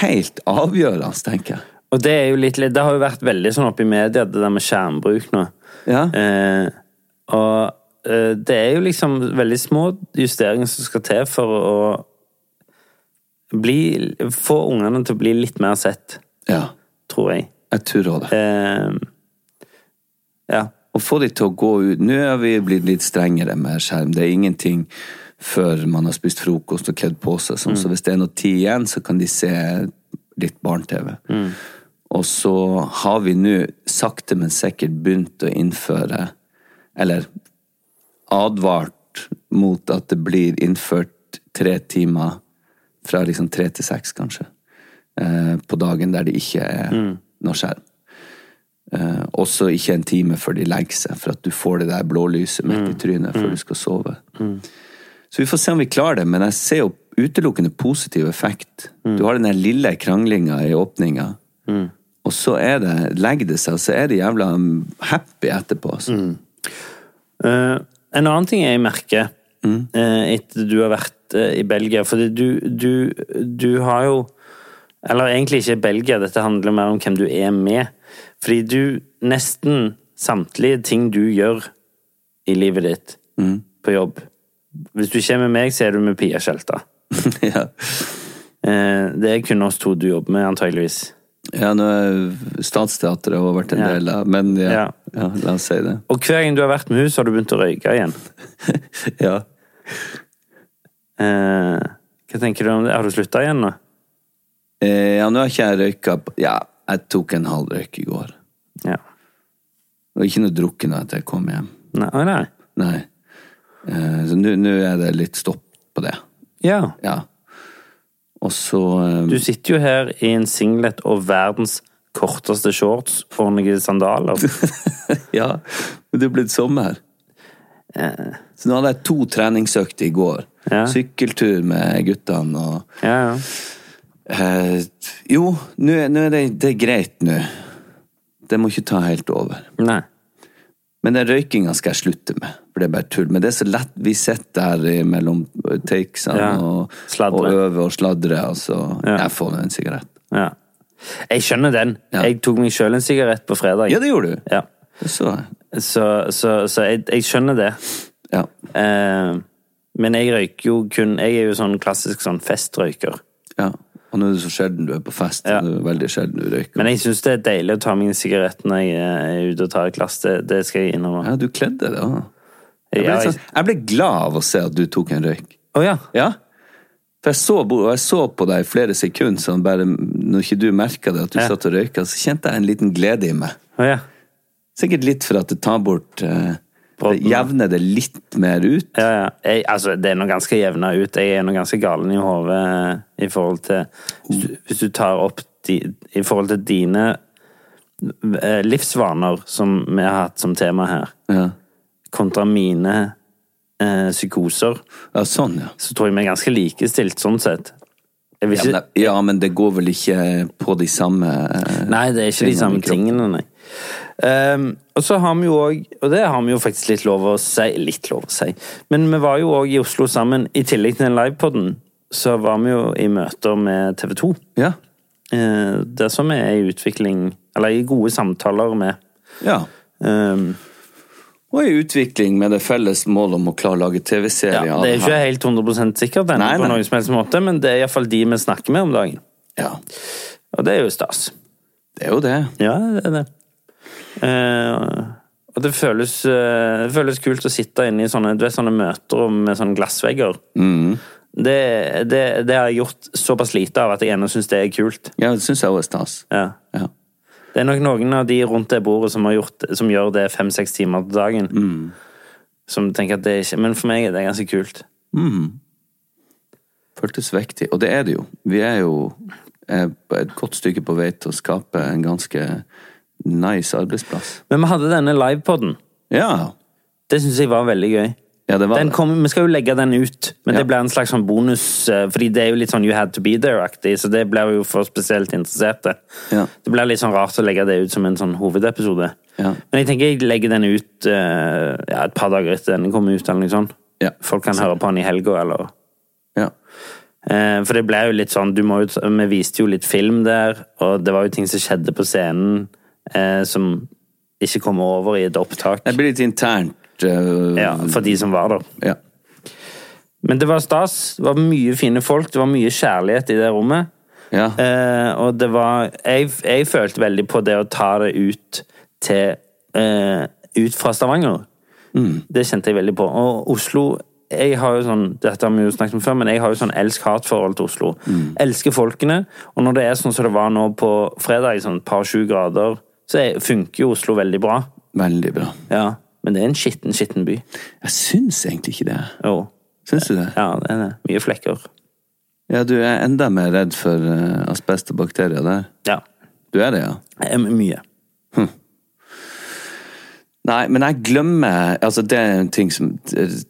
Speaker 3: helt avgjørende, tenker jeg.
Speaker 2: Og det er jo litt Det har jo vært veldig sånn oppe i media, det der med skjermbruk nå.
Speaker 3: Ja.
Speaker 2: Eh, og eh, det er jo liksom veldig små justeringer som skal til for å bli Få ungene til å bli litt mer sett,
Speaker 3: ja.
Speaker 2: tror jeg.
Speaker 3: Jeg tror òg det.
Speaker 2: Eh, ja.
Speaker 3: Å få de til å gå ut Nå er vi blitt litt strengere med skjerm. Det er ingenting før man har spist frokost og kledd på seg. Sånn. Så hvis det er noe tid igjen, så kan de se litt barne-TV. Og så har vi nå sakte, men sikkert begynt å innføre Eller advart mot at det blir innført tre timer fra liksom tre til seks, kanskje, eh, på dagen der det ikke er noe skjerm. Eh, også ikke en time før de legger seg, for at du får det der blålyset midt i trynet før du skal sove. Så vi får se om vi klarer det, men jeg ser jo utelukkende positiv effekt. Du har den der lille kranglinga i åpninga, og så er det, legger det seg, og så er de jævla um, happy etterpå. Altså.
Speaker 2: Eh, en annen ting jeg merker eh, etter du har vært eh, i Belgia, fordi du, du, du har jo Eller egentlig ikke Belgia, dette handler mer om hvem du er med. Fordi du nesten samtlige ting du gjør i livet ditt, på jobb Hvis du ikke er med meg, så er du med Pia Skjelta.
Speaker 3: ja.
Speaker 2: Eh, det er kun oss to du jobber med, antageligvis.
Speaker 3: ja, nå er Statsteatret har vært en
Speaker 2: Ja.
Speaker 3: del av Men ja,
Speaker 2: Ja.
Speaker 3: ja, la oss si det.
Speaker 2: Og hver gang du har vært med henne, så har du begynt å røyke igjen.
Speaker 3: ja.
Speaker 2: Eh, hva tenker du om det? Har du slutta igjen nå?
Speaker 3: Eh, ja, nå har ikke jeg røyka på- Ja, jeg tok en halv røyk i går.
Speaker 2: Ja.
Speaker 3: Og ikke noe drukket nå etter jeg kom hjem.
Speaker 2: Nei, å, nei.
Speaker 3: Nei. Eh, så nå nå er det litt stopp på det.
Speaker 2: Ja.
Speaker 3: Ja. Og så eh,
Speaker 2: Du sitter jo her i en singlet og verdens korteste shorts og noen sandaler.
Speaker 3: Ja, men det er blitt sommer. Så nå hadde jeg to treningsøkter i går.
Speaker 2: Eh. Ja.
Speaker 3: Sykkeltur med guttene og
Speaker 2: Ja, ja.
Speaker 3: eh, Jo, nå er- nå er det, det er greit nå. Det må ikke ta helt over.
Speaker 2: Nei.
Speaker 3: Men den røykinga skal jeg slutte med, for det er bare tull. Men det er så lett vi sitter der i mellom eh, takesene
Speaker 2: Ja.
Speaker 3: og,
Speaker 2: Sladre.
Speaker 3: og øver og sladrer, og så
Speaker 2: Ja.
Speaker 3: Jeg får nå en sigarett.
Speaker 2: Ja. Jeg skjønner den.
Speaker 3: Ja.
Speaker 2: Jeg tok meg sjøl en sigarett på fredag.
Speaker 3: Ja, det gjorde du.
Speaker 2: Ja.
Speaker 3: Det så jeg.
Speaker 2: Så, så, så jeg, jeg skjønner det.
Speaker 3: Ja.
Speaker 2: Eh, men jeg røyker jo kun Jeg er jo sånn klassisk sånn festrøyker.
Speaker 3: ja. Og nå er det så sjelden du er på fest.
Speaker 2: Ja.
Speaker 3: Det er veldig sjelden du røyker.
Speaker 2: Men jeg syns det er deilig å ta meg en sigarett når jeg er ute og tar et glass. Det, det skal jeg innrømme.
Speaker 3: Ja, du kledde deg da.
Speaker 2: Ja,
Speaker 3: Jeg ble, litt
Speaker 2: jeg-
Speaker 3: sånn, jeg ble glad av å se at du tok en røyk.
Speaker 2: Å ja.
Speaker 3: Ja. For jeg så, bo- jeg så på deg i flere sekunder, sånn bare når ikke du merka det, at du
Speaker 2: Ja.
Speaker 3: satt og røyka, så kjente jeg en liten glede i meg.
Speaker 2: Å ja.
Speaker 3: Sikkert litt for at det tar bort eh, Det
Speaker 2: Brodden.
Speaker 3: jevner det litt mer ut.
Speaker 2: Ja, ja. Jeg, altså, det er nå ganske jevna ut. Jeg er nå ganske galen i hodet eh, i forhold til hvis du, hvis du tar opp di, I forhold til dine eh, livsvaner, som vi har hatt som tema her,
Speaker 3: Ja,
Speaker 2: kontra mine eh, psykoser,
Speaker 3: ja sånn, ja.
Speaker 2: så tror jeg vi er ganske likestilt sånn sett. Jeg vil
Speaker 3: Ja
Speaker 2: ikke,
Speaker 3: men, det- ja, men det går vel ikke på de samme eh,
Speaker 2: Nei, det er ikke de
Speaker 3: tingene i
Speaker 2: samme
Speaker 3: kroppen.
Speaker 2: tingene, nei. Ehm, og så har vi jo òg, og det har vi jo faktisk litt lov å si Litt lov å si. Men vi var jo òg i Oslo sammen. I tillegg til den livepoden, så var vi jo i møter med TV 2.
Speaker 3: Ja.
Speaker 2: Uh, der som vi er i utvikling Eller i gode samtaler med.
Speaker 3: ja.
Speaker 2: Ehm,
Speaker 3: Og i utvikling med det felles mål om å klare å lage TV-serier.
Speaker 2: ja,
Speaker 3: av
Speaker 2: det er jo ikke
Speaker 3: her.
Speaker 2: helt 100 sikkert ennå,
Speaker 3: Nei,
Speaker 2: på
Speaker 3: nei.
Speaker 2: noen som helst måte, men det er iallfall de vi snakker med om dagen.
Speaker 3: Ja,
Speaker 2: Og det er jo stas.
Speaker 3: det er jo det.
Speaker 2: Ja, det er det. Eh, og det føles, eh, det føles kult å sitte inne i sånne, du vet, sånne møter med sånne glassvegger. Det, det, det har jeg gjort såpass lite av at jeg ennå syns det er kult.
Speaker 3: Ja, det syns jeg òg er stas.
Speaker 2: Ja.
Speaker 3: Ja.
Speaker 2: Det er nok noen av de rundt det bordet som, har gjort, som gjør det fem-seks timer til dagen. Som tenker at det er ikke Men for meg er det ganske kult.
Speaker 3: Føltes viktig. Og det er det jo. Vi er jo eh, et godt stykke på vei til å skape en ganske nice arbeidsplass.
Speaker 2: Men vi hadde denne livepoden.
Speaker 3: Ja.
Speaker 2: Det syns jeg var veldig gøy.
Speaker 3: Ja, det var
Speaker 2: den
Speaker 3: det.
Speaker 2: kom, vi skal jo legge den ut, men
Speaker 3: Ja.
Speaker 2: det blir en slags sånn bonus. eh, Fordi det er jo litt sånn You had to be there-aktig, så det blir jo for spesielt interesserte.
Speaker 3: Ja.
Speaker 2: Det blir litt sånn rart å legge det ut som en sånn hovedepisode.
Speaker 3: Ja.
Speaker 2: Men jeg tenker jeg legger den ut eh, ja, et par dager etter den kommer ut, eller noe sånt.
Speaker 3: Ja.
Speaker 2: Folk kan høre på den i helga, eller
Speaker 3: ja.
Speaker 2: eh, For det ble jo litt sånn du må jo, Vi viste jo litt film der, og det var jo ting som skjedde på scenen eh, som ikke kom over i et opptak.
Speaker 3: Det blir litt internt. eh,
Speaker 2: Ja, for de som var der.
Speaker 3: ja.
Speaker 2: Men det var stas. Det var mye fine folk. Det var mye kjærlighet i det rommet.
Speaker 3: Ja.
Speaker 2: Eh, og det var jeg, jeg følte veldig på det å ta det ut til eh, Ut fra Stavanger. Det kjente jeg veldig på. Og Oslo jeg har jo sånn, Dette har vi jo snakket om før, men jeg har jo sånn elsk-hat-forhold til Oslo. Elsker folkene. Og når det er sånn som det var nå på fredag, sånn et par sju grader, så er- funker jo Oslo veldig bra.
Speaker 3: Veldig bra.
Speaker 2: Ja. Men det er en skitten, skitten by.
Speaker 3: Jeg syns egentlig ikke det.
Speaker 2: Jo.
Speaker 3: Syns du det?
Speaker 2: Ja, det er det. Mye flekker.
Speaker 3: Ja, du er enda mer redd for eh, asbest og bakterier der.
Speaker 2: Ja.
Speaker 3: Du er det, ja?
Speaker 2: Eh, Mye.
Speaker 3: Nei, men jeg glemmer altså Det er en ting som,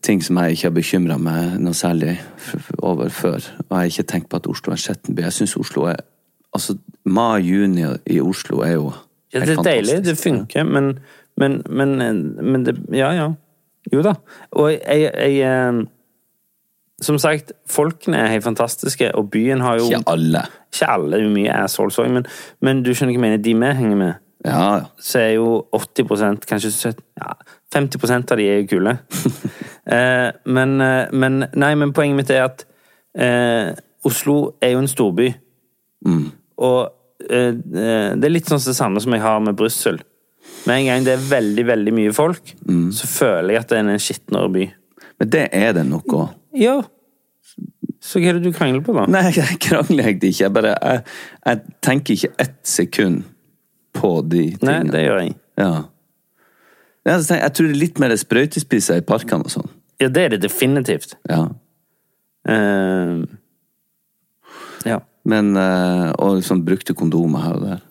Speaker 3: ting som jeg ikke har bekymra meg noe særlig f- f- over før. Og jeg har ikke tenkt på at Oslo er en skitten by. Jeg syns Oslo er Altså, mai-juni i Oslo er jo
Speaker 2: Ja,
Speaker 3: helt
Speaker 2: det er deilig,
Speaker 3: fantastisk.
Speaker 2: det funker, men, men, men, men det, Ja, ja. Jo da. Og jeg, jeg eh, Som sagt, folkene er helt fantastiske, og byen har jo
Speaker 3: Ikke alle.
Speaker 2: Ikke alle, det er jo mye assholes òg, men, men du skjønner hva jeg mener. De vi henger med,
Speaker 3: Ja, ja.
Speaker 2: så er jo 80 kanskje 70, ja, 50 av de er jo kule. eh, men, eh, men Nei, men poenget mitt er at eh, Oslo er jo en storby. Og eh, eh, det er litt sånn det samme som jeg har med Brussel. Med en gang det er veldig, veldig mye folk, så føler jeg at det er en skitnere by.
Speaker 3: Men det er det nok òg.
Speaker 2: Ja. Så hva er det du krangler på, da?
Speaker 3: Nei, jeg krangler egentlig ikke. Jeg bare jeg, jeg tenker ikke ett sekund på de
Speaker 2: Nei,
Speaker 3: tingene.
Speaker 2: det gjør jeg.
Speaker 3: Ja. Ja, så tenker Jeg jeg tror det er litt mer sprøytespiser i parkene og sånn.
Speaker 2: Ja, det er det definitivt.
Speaker 3: Ja.
Speaker 2: Eh, ja.
Speaker 3: Men, eh, og liksom brukte kondomer her og der.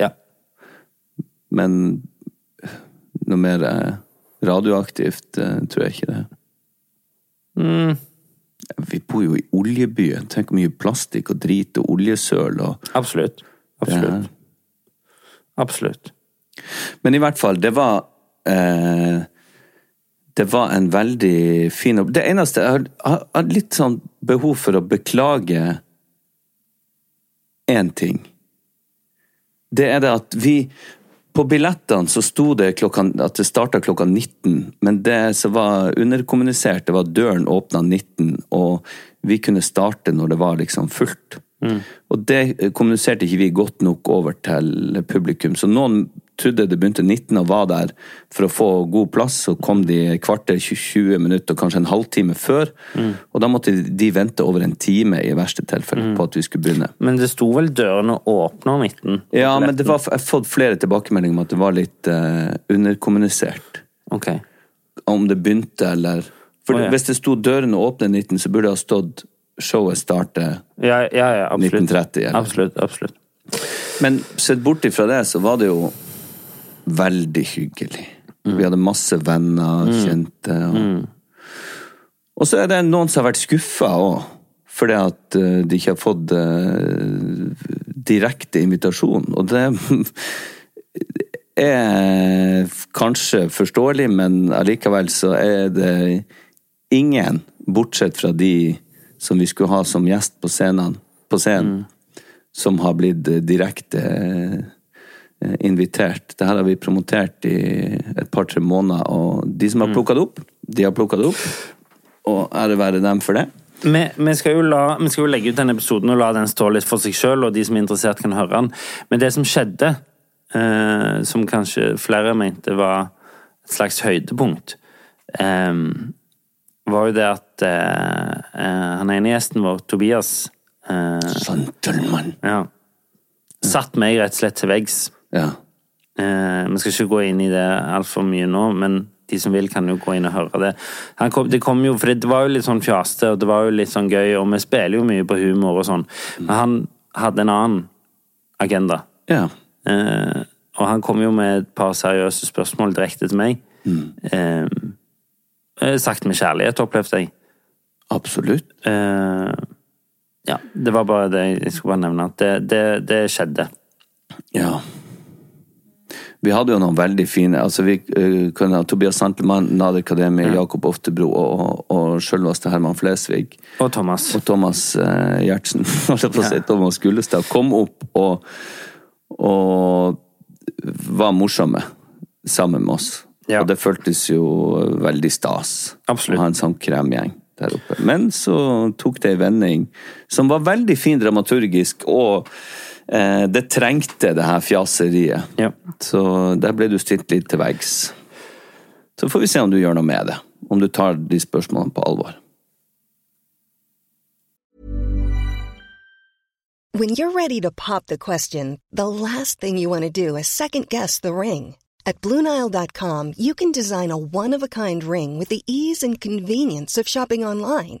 Speaker 2: Ja.
Speaker 3: Men noe mer eh, radioaktivt eh, tror jeg ikke det. Mm. Vi bor jo i oljebyen. Tenk hvor mye plastikk og drit og oljesøl og
Speaker 2: Absolutt. Absolutt. Absolutt.
Speaker 3: Men i hvert fall, det var eh, Det var en veldig fin opp... Det eneste Jeg har, har, har litt sånn behov for å beklage én ting. det er det at vi På billettene så sto det klokka, at det starta klokka 19, men det som var underkommunisert, det var at døren åpna 19, og vi kunne starte når det var liksom fullt. Og det kommuniserte ikke vi godt nok over til publikum, så noen trodde det begynte 19 og var der for å få god plass, så kom de kvarter 20 minutter, kanskje en halvtime før, og da måtte de vente over en time i verste tilfelle på at vi skulle begynne.
Speaker 2: Men det sto vel dørene åpna 19?
Speaker 3: Ja, men det var, jeg har fått flere tilbakemeldinger om at det var litt eh, underkommunisert.
Speaker 2: Ok.
Speaker 3: Om det begynte, eller For
Speaker 2: Å, ja.
Speaker 3: hvis det sto dørene åpne 19, så burde det ha stått showet starter
Speaker 2: Ja, ja, ja absolutt.
Speaker 3: 1930. Eller.
Speaker 2: Absolutt, absolutt.
Speaker 3: Men sett bort ifra det, så var det jo veldig hyggelig.
Speaker 2: Mm.
Speaker 3: Vi hadde masse venner, kjente. Og, og så er det noen som har vært skuffa òg, fordi at eh, de ikke har fått eh, direkte invitasjon. Og det er kanskje forståelig, men allikevel så er det ingen, bortsett fra de som vi skulle ha som gjest på scenen, på scenen som har blitt eh, direkte eh, invitert. Det her har vi promotert i et par-tre måneder, og de som har plukka det opp, de har plukka det opp. Og ære være dem for det.
Speaker 2: Vi, vi, skal jo la, vi skal jo legge ut denne episoden og la den stå litt for seg sjøl, og de som er interessert, kan høre den. Men det som skjedde, eh, som kanskje flere mente var et slags høydepunkt, eh, var jo det at eh, eh, han ene gjesten vår, Tobias, eh,
Speaker 3: Gentleman.
Speaker 2: ja, satt meg rett og slett til veggs.
Speaker 3: Ja.
Speaker 2: Eh, Vi skal ikke gå inn i det altfor mye nå, men de som vil, kan jo gå inn og høre det. Han kom, det kom jo, for det var jo litt sånn fjaste, og det var jo litt sånn gøy, og vi spiller jo mye på humor og sånn. Men han hadde en annen agenda.
Speaker 3: ja.
Speaker 2: Eh, og han kom jo med et par seriøse spørsmål direkte til meg. Eh, eh, sagt med kjærlighet, opplevde jeg.
Speaker 3: Absolutt.
Speaker 2: Eh, ja, det var bare det jeg skulle bare nevne. At det, det, det skjedde.
Speaker 3: Ja. Vi hadde jo noen veldig fine altså vi eh, kunne ha Tobias Santelmann, Nader Kademi, Jakob Oftebro og, og sjølveste Herman Flesvig.
Speaker 2: Og Thomas.
Speaker 3: Og Thomas eh, Gjertsen, holdt jeg på å si, Thomas Gullestad, kom opp og, og var morsomme sammen med oss.
Speaker 2: Ja.
Speaker 3: Og det føltes jo veldig stas
Speaker 2: Absolutt.
Speaker 3: å ha en sånn kremgjeng der oppe. Men så tok det en vending som var veldig fin dramaturgisk, og eh, det trengte det her fjaseriet.
Speaker 2: Ja.
Speaker 3: Så der ble du stilt litt til veggs. Så får vi se om du gjør noe med det. Om du tar de spørsmålene på alvor.
Speaker 5: When you're ready to pop the question, the last thing you want to do is second guess the ring. At Bluenile.com, you can design a one of a kind ring with the ease and convenience of shopping online.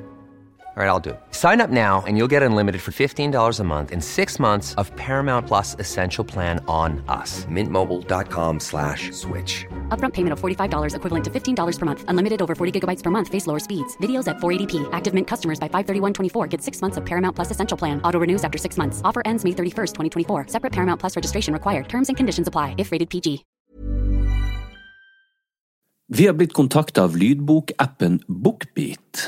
Speaker 6: All right, I'll do it. Sign up now and you'll get unlimited for $15 a month and six months of Paramount Plus Essential Plan on us. Mintmobile.com slash switch.
Speaker 7: Upfront payment of $45 equivalent to $15 per month. Unlimited over 40 gigabytes per month. Face lower speeds. Videos at 480p. Active Mint customers by 531.24 get six months of Paramount Plus Essential Plan. Auto renews after six months. Offer ends May 31st, 2024. Separate Paramount Plus registration required. Terms and conditions apply if rated PG.
Speaker 3: Vi har blitt kontakta av lydbokappen Bookbeat.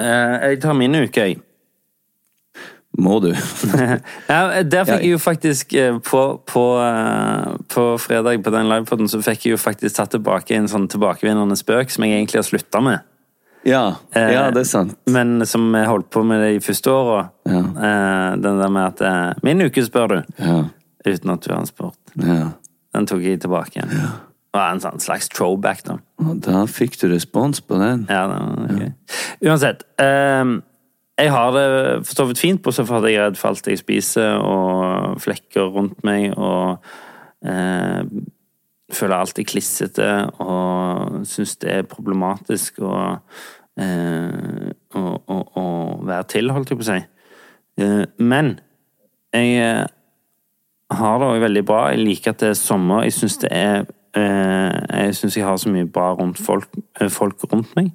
Speaker 2: Eh, jeg tar min uke, jeg.
Speaker 3: Må du.
Speaker 2: Ja, eh, der
Speaker 3: Ja,
Speaker 2: fikk jeg jo faktisk eh, på, på, eh, på fredag på den livepoden så fikk jeg jo faktisk tatt tilbake en sånn tilbakevinnende spøk som jeg egentlig har slutta med.
Speaker 3: ja,
Speaker 2: Eh,
Speaker 3: ja, det er sant.
Speaker 2: Men som jeg holdt på med det i første året.
Speaker 3: Ja.
Speaker 2: Eh, Den der med at eh, 'Min uke, spør du',
Speaker 3: Ja,
Speaker 2: uten at du har en spurt.
Speaker 3: ja.
Speaker 2: Den tok jeg tilbake igjen. Det var en sånn slags throwback, da.
Speaker 3: Og da fikk du respons på den.
Speaker 2: Ja, det var gøy. Uansett. ehm, jeg har det for så vidt fint, bortsett fra at jeg er redd for alt jeg spiser, og flekker rundt meg, og eh, føler alltid klissete, og syns det er problematisk å eh, å, å, å være til, holdt jeg på å si. Eh, men jeg eh, har det òg veldig bra. Jeg liker at det er sommer. Jeg syns det er eh, Jeg syns jeg har så mye bra rundt folk, eh, folk rundt meg.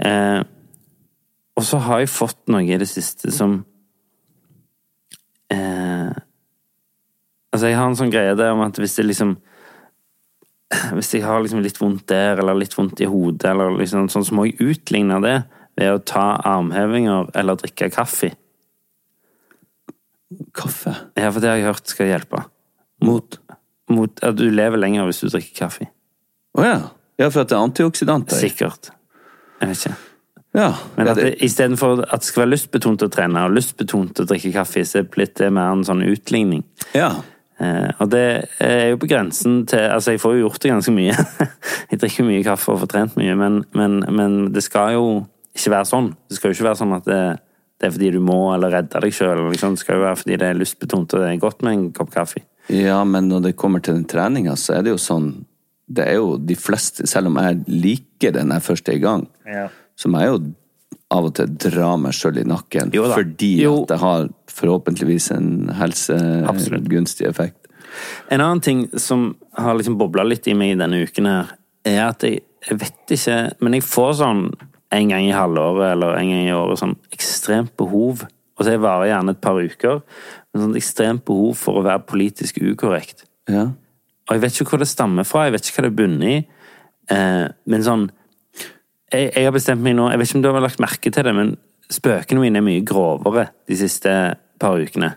Speaker 2: Eh, og så har jeg fått noe i det siste som eh, Altså, jeg har en sånn greie der om at hvis det liksom Hvis jeg har liksom litt vondt der, eller litt vondt i hodet, eller liksom sånn, så må jeg utligne det ved å ta armhevinger eller drikke kaffe.
Speaker 3: Kaffe.
Speaker 2: Ja, for det har jeg hørt skal hjelpe.
Speaker 3: Mot.
Speaker 2: mot at du lever lenger hvis du drikker kaffe.
Speaker 3: Å ja. Ja, for at det er antioksidanter. i.
Speaker 2: Sikkert. Jeg vet ikke.
Speaker 3: Ja.
Speaker 2: Men
Speaker 3: ja,
Speaker 2: at det, istedenfor at det skal være lystbetont å trene og lystbetont å drikke kaffe, så er det blitt det mer en sånn utligning.
Speaker 3: ja.
Speaker 2: Eh, og det er jo på grensen til Altså, jeg får jo gjort det ganske mye. jeg drikker mye kaffe og får trent mye, men, men, men det skal jo ikke være sånn. Det skal jo ikke være sånn at det, det er fordi du må, eller redder deg sjøl. Liksom. Det skal jo være fordi det er lystbetont, og det er godt med en kopp kaffe.
Speaker 3: Ja, men når det kommer til den treninga, så er det jo sånn Det er jo de fleste, selv om jeg liker den jeg først er i gang, så må jeg jo av og til dra meg sjøl i nakken
Speaker 2: Jo da.
Speaker 3: fordi
Speaker 2: Jo.
Speaker 3: at det har forhåpentligvis en helsegunstig effekt.
Speaker 2: En annen ting som har liksom bobla litt i meg denne uken her, er at jeg, jeg vet ikke Men jeg får sånn en gang i halvåret eller en gang i året sånn ekstremt behov Og det varer gjerne et par uker. Men sånn ekstremt behov for å være politisk ukorrekt.
Speaker 3: Ja.
Speaker 2: Og jeg vet ikke hvor det stammer fra, jeg vet ikke hva det bunner i. Eh, men sånn jeg, jeg har bestemt meg nå Jeg vet ikke om du har lagt merke til det, men spøkene mine er mye grovere de siste par ukene.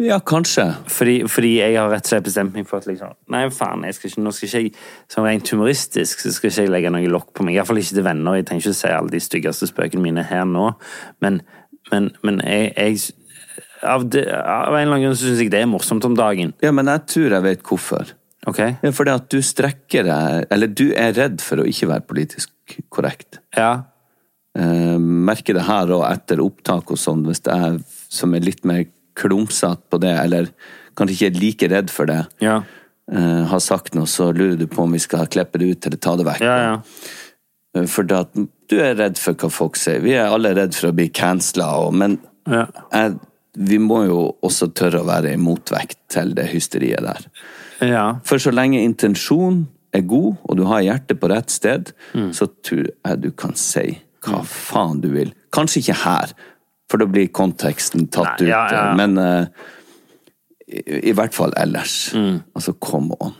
Speaker 3: ja, kanskje.
Speaker 2: Fordi, fordi jeg har rett og slett bestemt meg for at liksom, Nei, faen, jeg skal ikke, nå skal ikke jeg Sånn rent humoristisk så skal ikke jeg legge noe lokk på meg. Iallfall ikke til venner. Jeg trenger ikke si alle de styggeste spøkene mine her nå. Men, men, men jeg, jeg av, det, av en eller annen grunn så syns jeg det er morsomt om dagen.
Speaker 3: Ja, men jeg tror jeg vet hvorfor.
Speaker 2: Ok?
Speaker 3: Ja, fordi at du strekker deg Eller du er redd for å ikke være politisk korrekt.
Speaker 2: Ja.
Speaker 3: Eh, merker det her og etter opptak og sånn, hvis det er som er litt mer klumsete på det, eller kanskje ikke er like redd for det,
Speaker 2: Ja.
Speaker 3: eh, har sagt noe, så lurer du på om vi skal klippe det ut eller ta det vekk.
Speaker 2: Ja, ja.
Speaker 3: Eh, For det at du er redd for hva folk sier. Vi er alle redd for å bli cancela, men
Speaker 2: Ja.
Speaker 3: jeg, vi må jo også tørre å være en motvekt til det hysteriet der.
Speaker 2: ja.
Speaker 3: For så lenge intensjonen er god, og du har hjertet på rett sted,
Speaker 2: Mm.
Speaker 3: så tror jeg du kan si hva faen du vil. Kanskje ikke her, for da blir konteksten tatt
Speaker 2: Nei, ja,
Speaker 3: ut,
Speaker 2: ja.
Speaker 3: men eh, i, i hvert fall ellers.
Speaker 2: Mm.
Speaker 3: Altså, come on.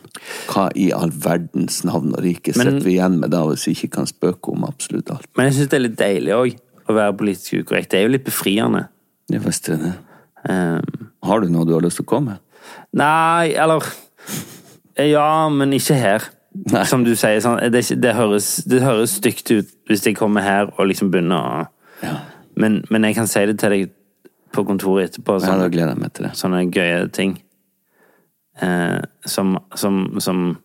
Speaker 3: Hva i all verdens navn og rike sitter vi igjen med da, hvis vi ikke kan spøke om absolutt alt?
Speaker 2: Men jeg syns det er litt deilig òg å være politisk ukorrekt. Det er jo litt befriende.
Speaker 3: Ja, visst er det.
Speaker 2: Um,
Speaker 3: Har du noe du har lyst til å komme med?
Speaker 2: Nei, eller Ja, men ikke her.
Speaker 3: Nei.
Speaker 2: Som du sier, sånn, det, er ikke- det, høres, det høres stygt ut hvis jeg kommer her og liksom begynner å men, men jeg kan si det til deg på kontoret etterpå.
Speaker 3: Ja,
Speaker 2: Sånn,
Speaker 3: da gleder jeg meg til det.
Speaker 2: sånne gøye ting. Eh, som, som, som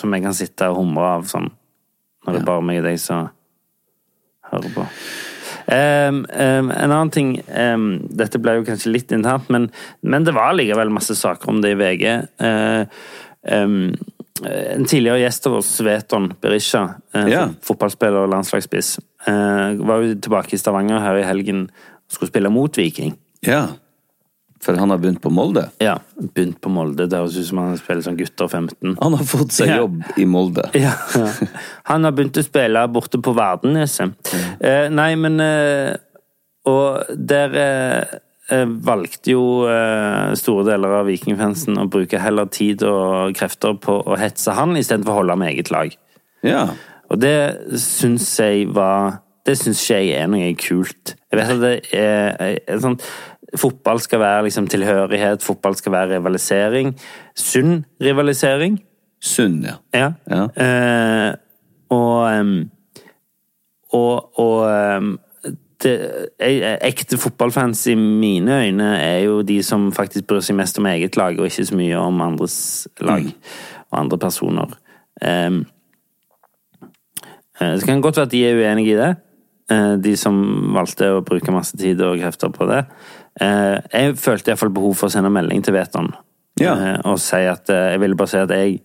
Speaker 2: Som jeg kan sitte og humre av sånn, når det bare er meg og deg som hører på. Em, em, en annen ting em, Dette ble jo kanskje litt internt, men, men det var likevel masse saker om det i VG. Eh, em, en tidligere gjest av oss, Sveton Berisha, eh,
Speaker 3: Ja.
Speaker 2: fotballspiller og landslagsspiss, eh, var jo tilbake i Stavanger her i helgen og skulle spille mot Viking.
Speaker 3: Ja. For han har begynt på Molde.
Speaker 2: Ja, begynt på Molde. Det høres ut som han spiller som gutter 15.
Speaker 3: Han har fått seg
Speaker 2: Ja.
Speaker 3: jobb i Molde.
Speaker 2: Ja, ja. Han har begynt å spille borte på Verdeneset. Eh, nei, men eh, Og der eh, eh, valgte jo eh, store deler av vikingfansen å bruke heller tid og krefter på å hetse han istedenfor å holde med eget lag.
Speaker 3: Ja.
Speaker 2: Og det syns jeg var Det syns ikke jeg er noe kult. Jeg vet at det er, er sånn Fotball skal være liksom tilhørighet, fotball skal være rivalisering. Sunn rivalisering.
Speaker 3: Sunn, ja.
Speaker 2: Ja.
Speaker 3: Ja.
Speaker 2: Eh, og em, og, og em, det, eh, ekte fotballfans i mine øyne er jo de som faktisk bryr seg mest om eget lag, og ikke så mye om andres lag
Speaker 3: Mm.
Speaker 2: og andre personer. Em, eh, det kan godt være at de er uenige i det, eh, de som valgte å bruke masse tid og krefter på det. Eh, jeg følte iallfall behov for å sende melding til Veton
Speaker 3: Ja.
Speaker 2: eh, og si at eh, jeg ville bare si at jeg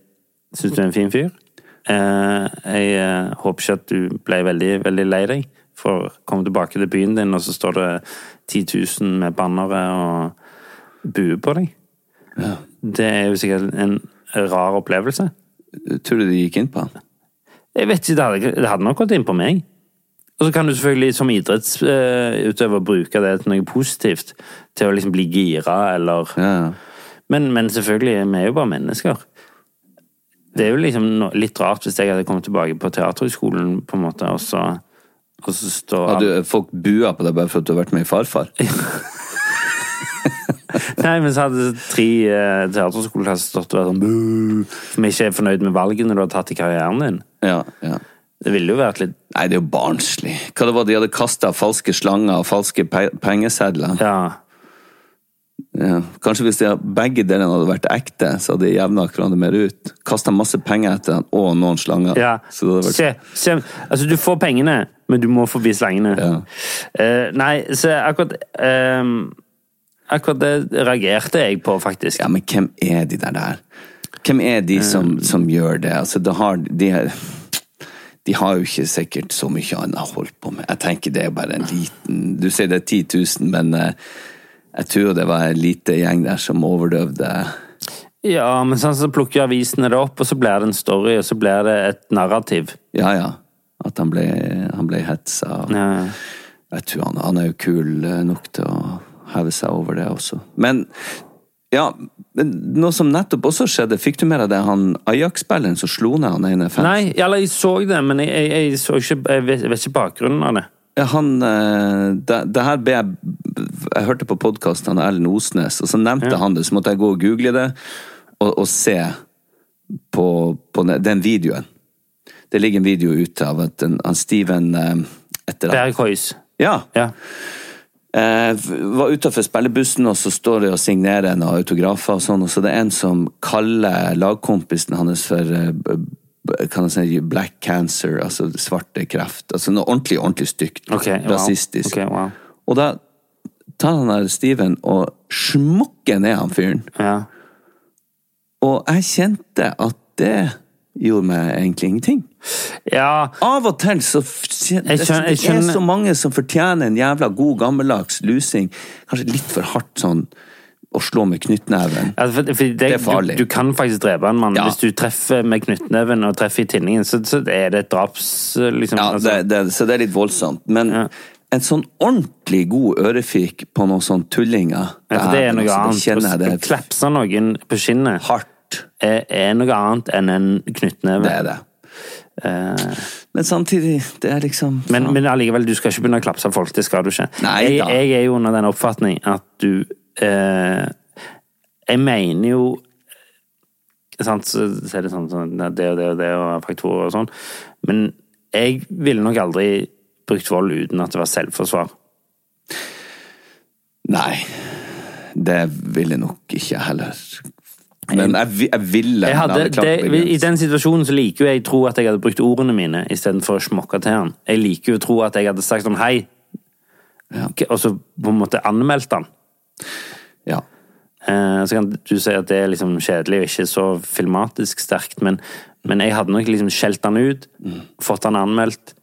Speaker 2: syns du er en fin fyr. Eh, jeg eh, håper ikke at du ble veldig, veldig lei deg for å komme tilbake til byen din, og så står det 10 000 med bannere og buer på deg. Det er jo sikkert en rar opplevelse.
Speaker 3: Tror du de gikk inn på han?
Speaker 2: Jeg vet ikke, det hadde, det hadde nok gått inn på meg. Og så kan du selvfølgelig som idrettsutøver bruke det til noe positivt. Til å liksom bli gira, eller
Speaker 3: Ja, ja.
Speaker 2: men, men selvfølgelig, vi er jo bare mennesker. Det er jo liksom no- litt rart hvis jeg hadde kommet tilbake på Teaterhøgskolen, på en måte, og så, og så står
Speaker 3: Hadde folk bua på deg bare for at du har vært med i Farfar?
Speaker 2: Nei, men så hadde tre eh, teaterskoleklasser stått og vært sånn «Buh», Som ikke er fornøyd med valgene du har tatt i karrieren din.
Speaker 3: Ja, ja.
Speaker 2: Det ville jo vært litt
Speaker 3: Nei, det er jo barnslig. Hva det var de hadde kasta falske slanger og falske pe pengesedler?
Speaker 2: Ja.
Speaker 3: Ja. Kanskje hvis de, begge delene hadde vært ekte, så hadde de jevna hverandre mer ut. Kasta masse penger etter han og noen slanger.
Speaker 2: ja.
Speaker 3: Så det hadde vært...
Speaker 2: Se, se, altså, du får pengene, men du må forbi slangene. Eh, nei, så akkurat eh, Akkurat det reagerte jeg på, faktisk.
Speaker 3: Ja, men hvem er de der der? Hvem er de som, som gjør det? Altså, det har, de, er- de har jo ikke sikkert så mye annet holdt på med. Jeg tenker det er bare en liten Du sier det er 10 000, men eh, jeg tror det var en lite gjeng der som overdøvde.
Speaker 2: Ja, men sånn så plukker avisene det opp, og så blir det en story, og så blir det et narrativ.
Speaker 3: Ja, ja. At han ble, han ble hetsa. og-
Speaker 2: Ja.
Speaker 3: Jeg tror han, han er jo kul eh, nok til å heve seg over det også. Men ja, men noe som nettopp også skjedde, fikk du med deg det han Ajax-spilleren som slo ned han ene fansen?
Speaker 2: Nei, eller jeg så det, men jeg, jeg, jeg, så ikke, jeg, vet, jeg vet ikke bakgrunnen av det.
Speaker 3: Ja, han eh, det, det her ble jeg Jeg hørte på podkasten av Ellen Osnes, og så nevnte han det. Så måtte jeg gå og google det og, og se på, på ne- den videoen. Det ligger en video ute av at en, han Steven eh, etter han-
Speaker 2: Berg Høis.
Speaker 3: Ja.
Speaker 2: Ja.
Speaker 3: Eh, var utafor spillebussen, og så står de og signerer noen autografer og sånn, og så det er en som kaller lagkompisen hans for eh, b- b- kan jeg si black cancer, altså svarte kreft. Altså noe ordentlig, ordentlig stygt.
Speaker 2: Ok, wow.
Speaker 3: rasistisk.
Speaker 2: Ok, wow.
Speaker 3: Og da tar han der Steven og smukker ned han fyren.
Speaker 2: Ja.
Speaker 3: Og jeg kjente at det gjorde meg egentlig ingenting.
Speaker 2: ja.
Speaker 3: Av og til så f- kjen-
Speaker 2: Jeg skjønner- jeg
Speaker 3: Det er
Speaker 2: skjønner-
Speaker 3: så mange som fortjener en jævla god, gammeldags lusing. Kanskje litt for hardt sånn å slå med knyttneven.
Speaker 2: Altså, for, for det,
Speaker 3: er farlig.
Speaker 2: Du, du kan faktisk drepe en mann.
Speaker 3: Ja.
Speaker 2: Hvis du treffer med knyttneven og treffer i tinningen, så, så er det et draps... Liksom,
Speaker 3: Ja,
Speaker 2: altså.
Speaker 3: det, det, så det er litt voldsomt. Men en sånn ordentlig god ørefik på noen sånn tullinger
Speaker 2: Ja, for det er
Speaker 3: dæven,
Speaker 2: noe
Speaker 3: altså, da
Speaker 2: annet.
Speaker 3: kjenner
Speaker 2: Å
Speaker 3: jeg
Speaker 2: å klapse noen på
Speaker 3: det
Speaker 2: skinnet
Speaker 3: hardt.
Speaker 2: er, er noe annet enn en knyttneve.
Speaker 3: Det er det. Men samtidig, det er liksom
Speaker 2: Eh. Men, men allikevel, du skal ikke begynne å klapse folk. Det skal du ikke.
Speaker 3: Nei
Speaker 2: jeg,
Speaker 3: da.
Speaker 2: jeg er jo under den oppfatning at du eh, Jeg mener jo sant, så så er det sånn, sånn ja, det og det og det og faktorer og sånn. Men jeg ville nok aldri brukt vold uten at det var selvforsvar.
Speaker 3: Nei, det vil jeg nok ikke heller. Men jeg, vi- jeg ville
Speaker 2: Jeg
Speaker 3: men
Speaker 2: hadde,
Speaker 3: jeg klart
Speaker 2: det,
Speaker 3: å
Speaker 2: I
Speaker 3: begrense.
Speaker 2: den situasjonen så liker jo jeg tro at jeg hadde brukt ordene mine istedenfor å smokke til han. Jeg liker jo å tro at jeg hadde sagt sånn hei, og så på en måte anmeldt han.
Speaker 3: Ja.
Speaker 2: Eh, Så kan du si at det er liksom kjedelig og ikke så filmatisk sterkt, men, men jeg hadde nok liksom skjelt han ut,
Speaker 3: Mm.
Speaker 2: fått han anmeldt,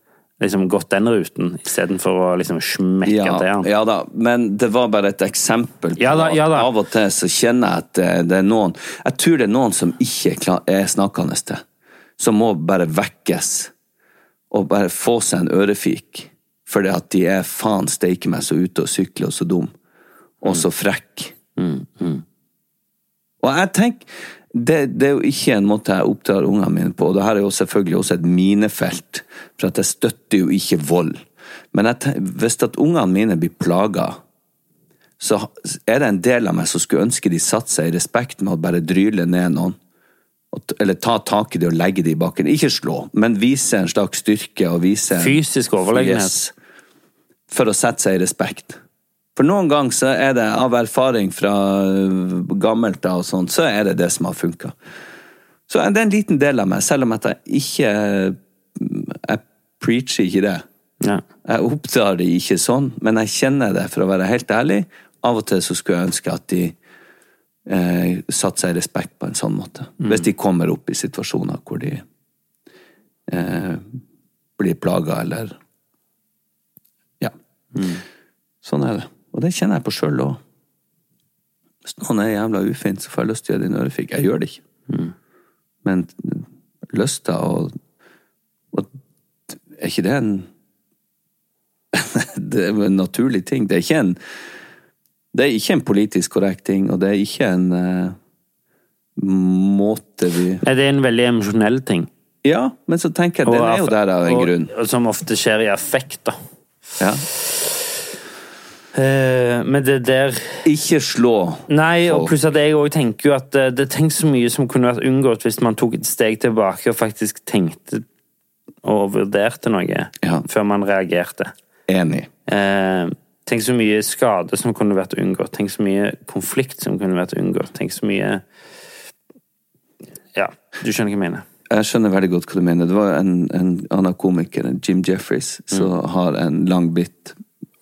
Speaker 2: liksom gått den ruten istedenfor å liksom smekke til
Speaker 3: Ja,
Speaker 2: han.
Speaker 3: ja da, men det var bare et eksempel. på
Speaker 2: Ja da, ja da.
Speaker 3: at Av og til så kjenner jeg at eh, det- det er noen Jeg tror det er noen som ikke er kla- er snakkende til. Som må bare vekkes. Og bare få seg en ørefik. Fordi at de er faen steike meg så ute og sykler og så dum. Og så frekk. Og jeg tenker det, det er jo ikke en måte jeg oppdrar ungene mine på. og Det her er jo selvfølgelig også et minefelt, for at jeg støtter jo ikke vold. Men jeg tenker, hvis at ungene mine blir plaga, så er det en del av meg som skulle ønske de satte seg i respekt med å bare dryle ned noen. Og t- Eller ta tak i det og legge det i bakken. Ikke slå, men vise en slags styrke. og vise en-
Speaker 2: Fysisk overlegenhet.
Speaker 3: Yes. For å sette seg i respekt. For noen ganger så er det av erfaring fra øh, gammelt av og sånn, så er det det som har funka. Så det er en liten del av meg, selv om at jeg ikke øh, Jeg preacher ikke det.
Speaker 2: Ja.
Speaker 3: Jeg oppdrar det ikke sånn, men jeg kjenner det, for å være helt ærlig. Av og til så skulle jeg ønske at de eh, satte seg i respekt på en sånn måte. Hvis de kommer opp i situasjoner hvor de eh, blir plaga eller Ja. Sånn er det. Og det kjenner jeg på sjøl òg. Hvis noen er jævla ufin, så får jeg lyst til å gjøre det i en ørefik. Jeg gjør det ikke.
Speaker 2: Mm.
Speaker 3: Men lysta og, og Er ikke det en Det er jo en naturlig ting. Det er ikke en det er ikke en politisk korrekt ting, og det er ikke en eh, måte vi
Speaker 2: Nei, Det er en veldig emosjonell ting.
Speaker 3: Ja, men så tenker jeg, den er jo der av en
Speaker 2: og-
Speaker 3: grunn.
Speaker 2: og Som ofte skjer i affekt, da.
Speaker 3: Ja.
Speaker 2: Eh, Men det der
Speaker 3: Ikke slå.
Speaker 2: Nei, og
Speaker 3: folk.
Speaker 2: pluss at jeg òg tenker jo at eh, det tenks så mye som kunne vært unngått hvis man tok et steg tilbake og faktisk tenkte og vurderte noe
Speaker 3: Ja.
Speaker 2: før man reagerte.
Speaker 3: Enig.
Speaker 2: Eh, tenk så mye skade som kunne vært unngått. Tenk så mye konflikt som kunne vært unngått. Tenk så mye Ja, du skjønner hva jeg mener.
Speaker 3: Jeg skjønner veldig godt hva du mener. Det var en, en annen komiker, Jim Jeffries,
Speaker 2: Mm.
Speaker 3: som har en lang bit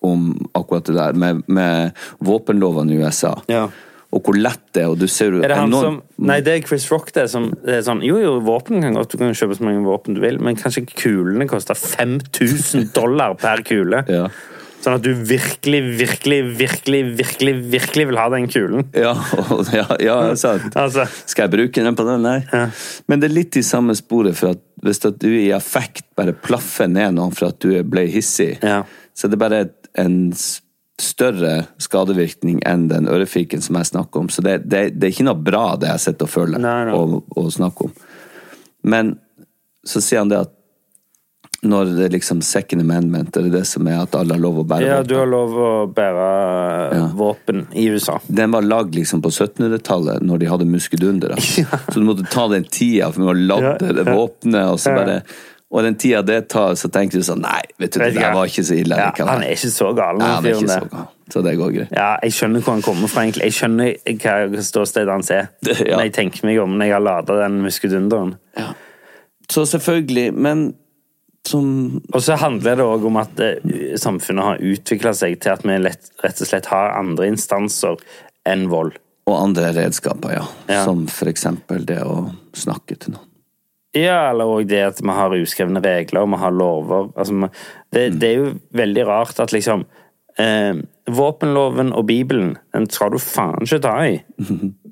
Speaker 3: om akkurat det der, med, med våpenlovene i USA.
Speaker 2: Ja.
Speaker 3: Og hvor lett det er, og du ser jo
Speaker 2: Er det han
Speaker 3: enormt-
Speaker 2: som Nei, det er Chris Rock, det. Som det er sånn Jo, jo, våpen kan godt Du kan kjøpe så mange våpen du vil, men kanskje kulene koster 5000 dollar per kule.
Speaker 3: Ja.
Speaker 2: Sånn at du virkelig, virkelig, virkelig, virkelig virkelig vil ha den kulen.
Speaker 3: Ja, og- ja, ja sant.
Speaker 2: Altså.
Speaker 3: Skal jeg bruke den på den? Nei. Men det er litt i samme sporet, for at hvis at du i affekt bare plaffer ned noen for at du ble hissig,
Speaker 2: Ja.
Speaker 3: så det er bare et- en s- større skadevirkning enn den ørefiken som jeg snakker om. Så det, det, det er ikke noe bra, det jeg sitter og føler
Speaker 2: Nei, nei.
Speaker 3: Og, og snakker om. Men så sier han det at når det er liksom second amendment, er det det som er at alle har lov å bære
Speaker 2: Ja,
Speaker 3: våpen?
Speaker 2: du har lov å bære eh,
Speaker 3: Ja.
Speaker 2: våpen i USA.
Speaker 3: den var lagd liksom på 1700-tallet, når de hadde muskedundere. Så du måtte ta den tida for å lade
Speaker 2: Ja, ja.
Speaker 3: våpenet, og så
Speaker 2: Ja.
Speaker 3: bare Og den tida det tar, så tenker du sånn Nei, vet du, det
Speaker 2: Vet ikke
Speaker 3: der
Speaker 2: jeg.
Speaker 3: var ikke så ille.
Speaker 2: Ja,
Speaker 3: likevel.»
Speaker 2: han er ikke så gal.
Speaker 3: Nei, han er
Speaker 2: fyren
Speaker 3: ikke
Speaker 2: der.
Speaker 3: så gal. Så det går greit.
Speaker 2: Ja, jeg skjønner hvor han kommer fra, egentlig. Jeg skjønner hva ståstedet hans er.
Speaker 3: Det- ja.
Speaker 2: Når jeg tenker meg om når jeg har lada den muskedunderen.
Speaker 3: Så selvfølgelig, men som
Speaker 2: Og så handler det òg om at eh, samfunnet har utvikla seg til at vi lett, rett og slett har andre instanser enn vold.
Speaker 3: Og andre redskaper, ja.
Speaker 2: Ja.
Speaker 3: Som for eksempel det å snakke til noen.
Speaker 2: Ja, eller òg det at vi har uskrevne regler, og vi har lover. Altså, vi- det, det er jo veldig rart at liksom eh, Våpenloven og Bibelen, den skal du faen ikke ta i.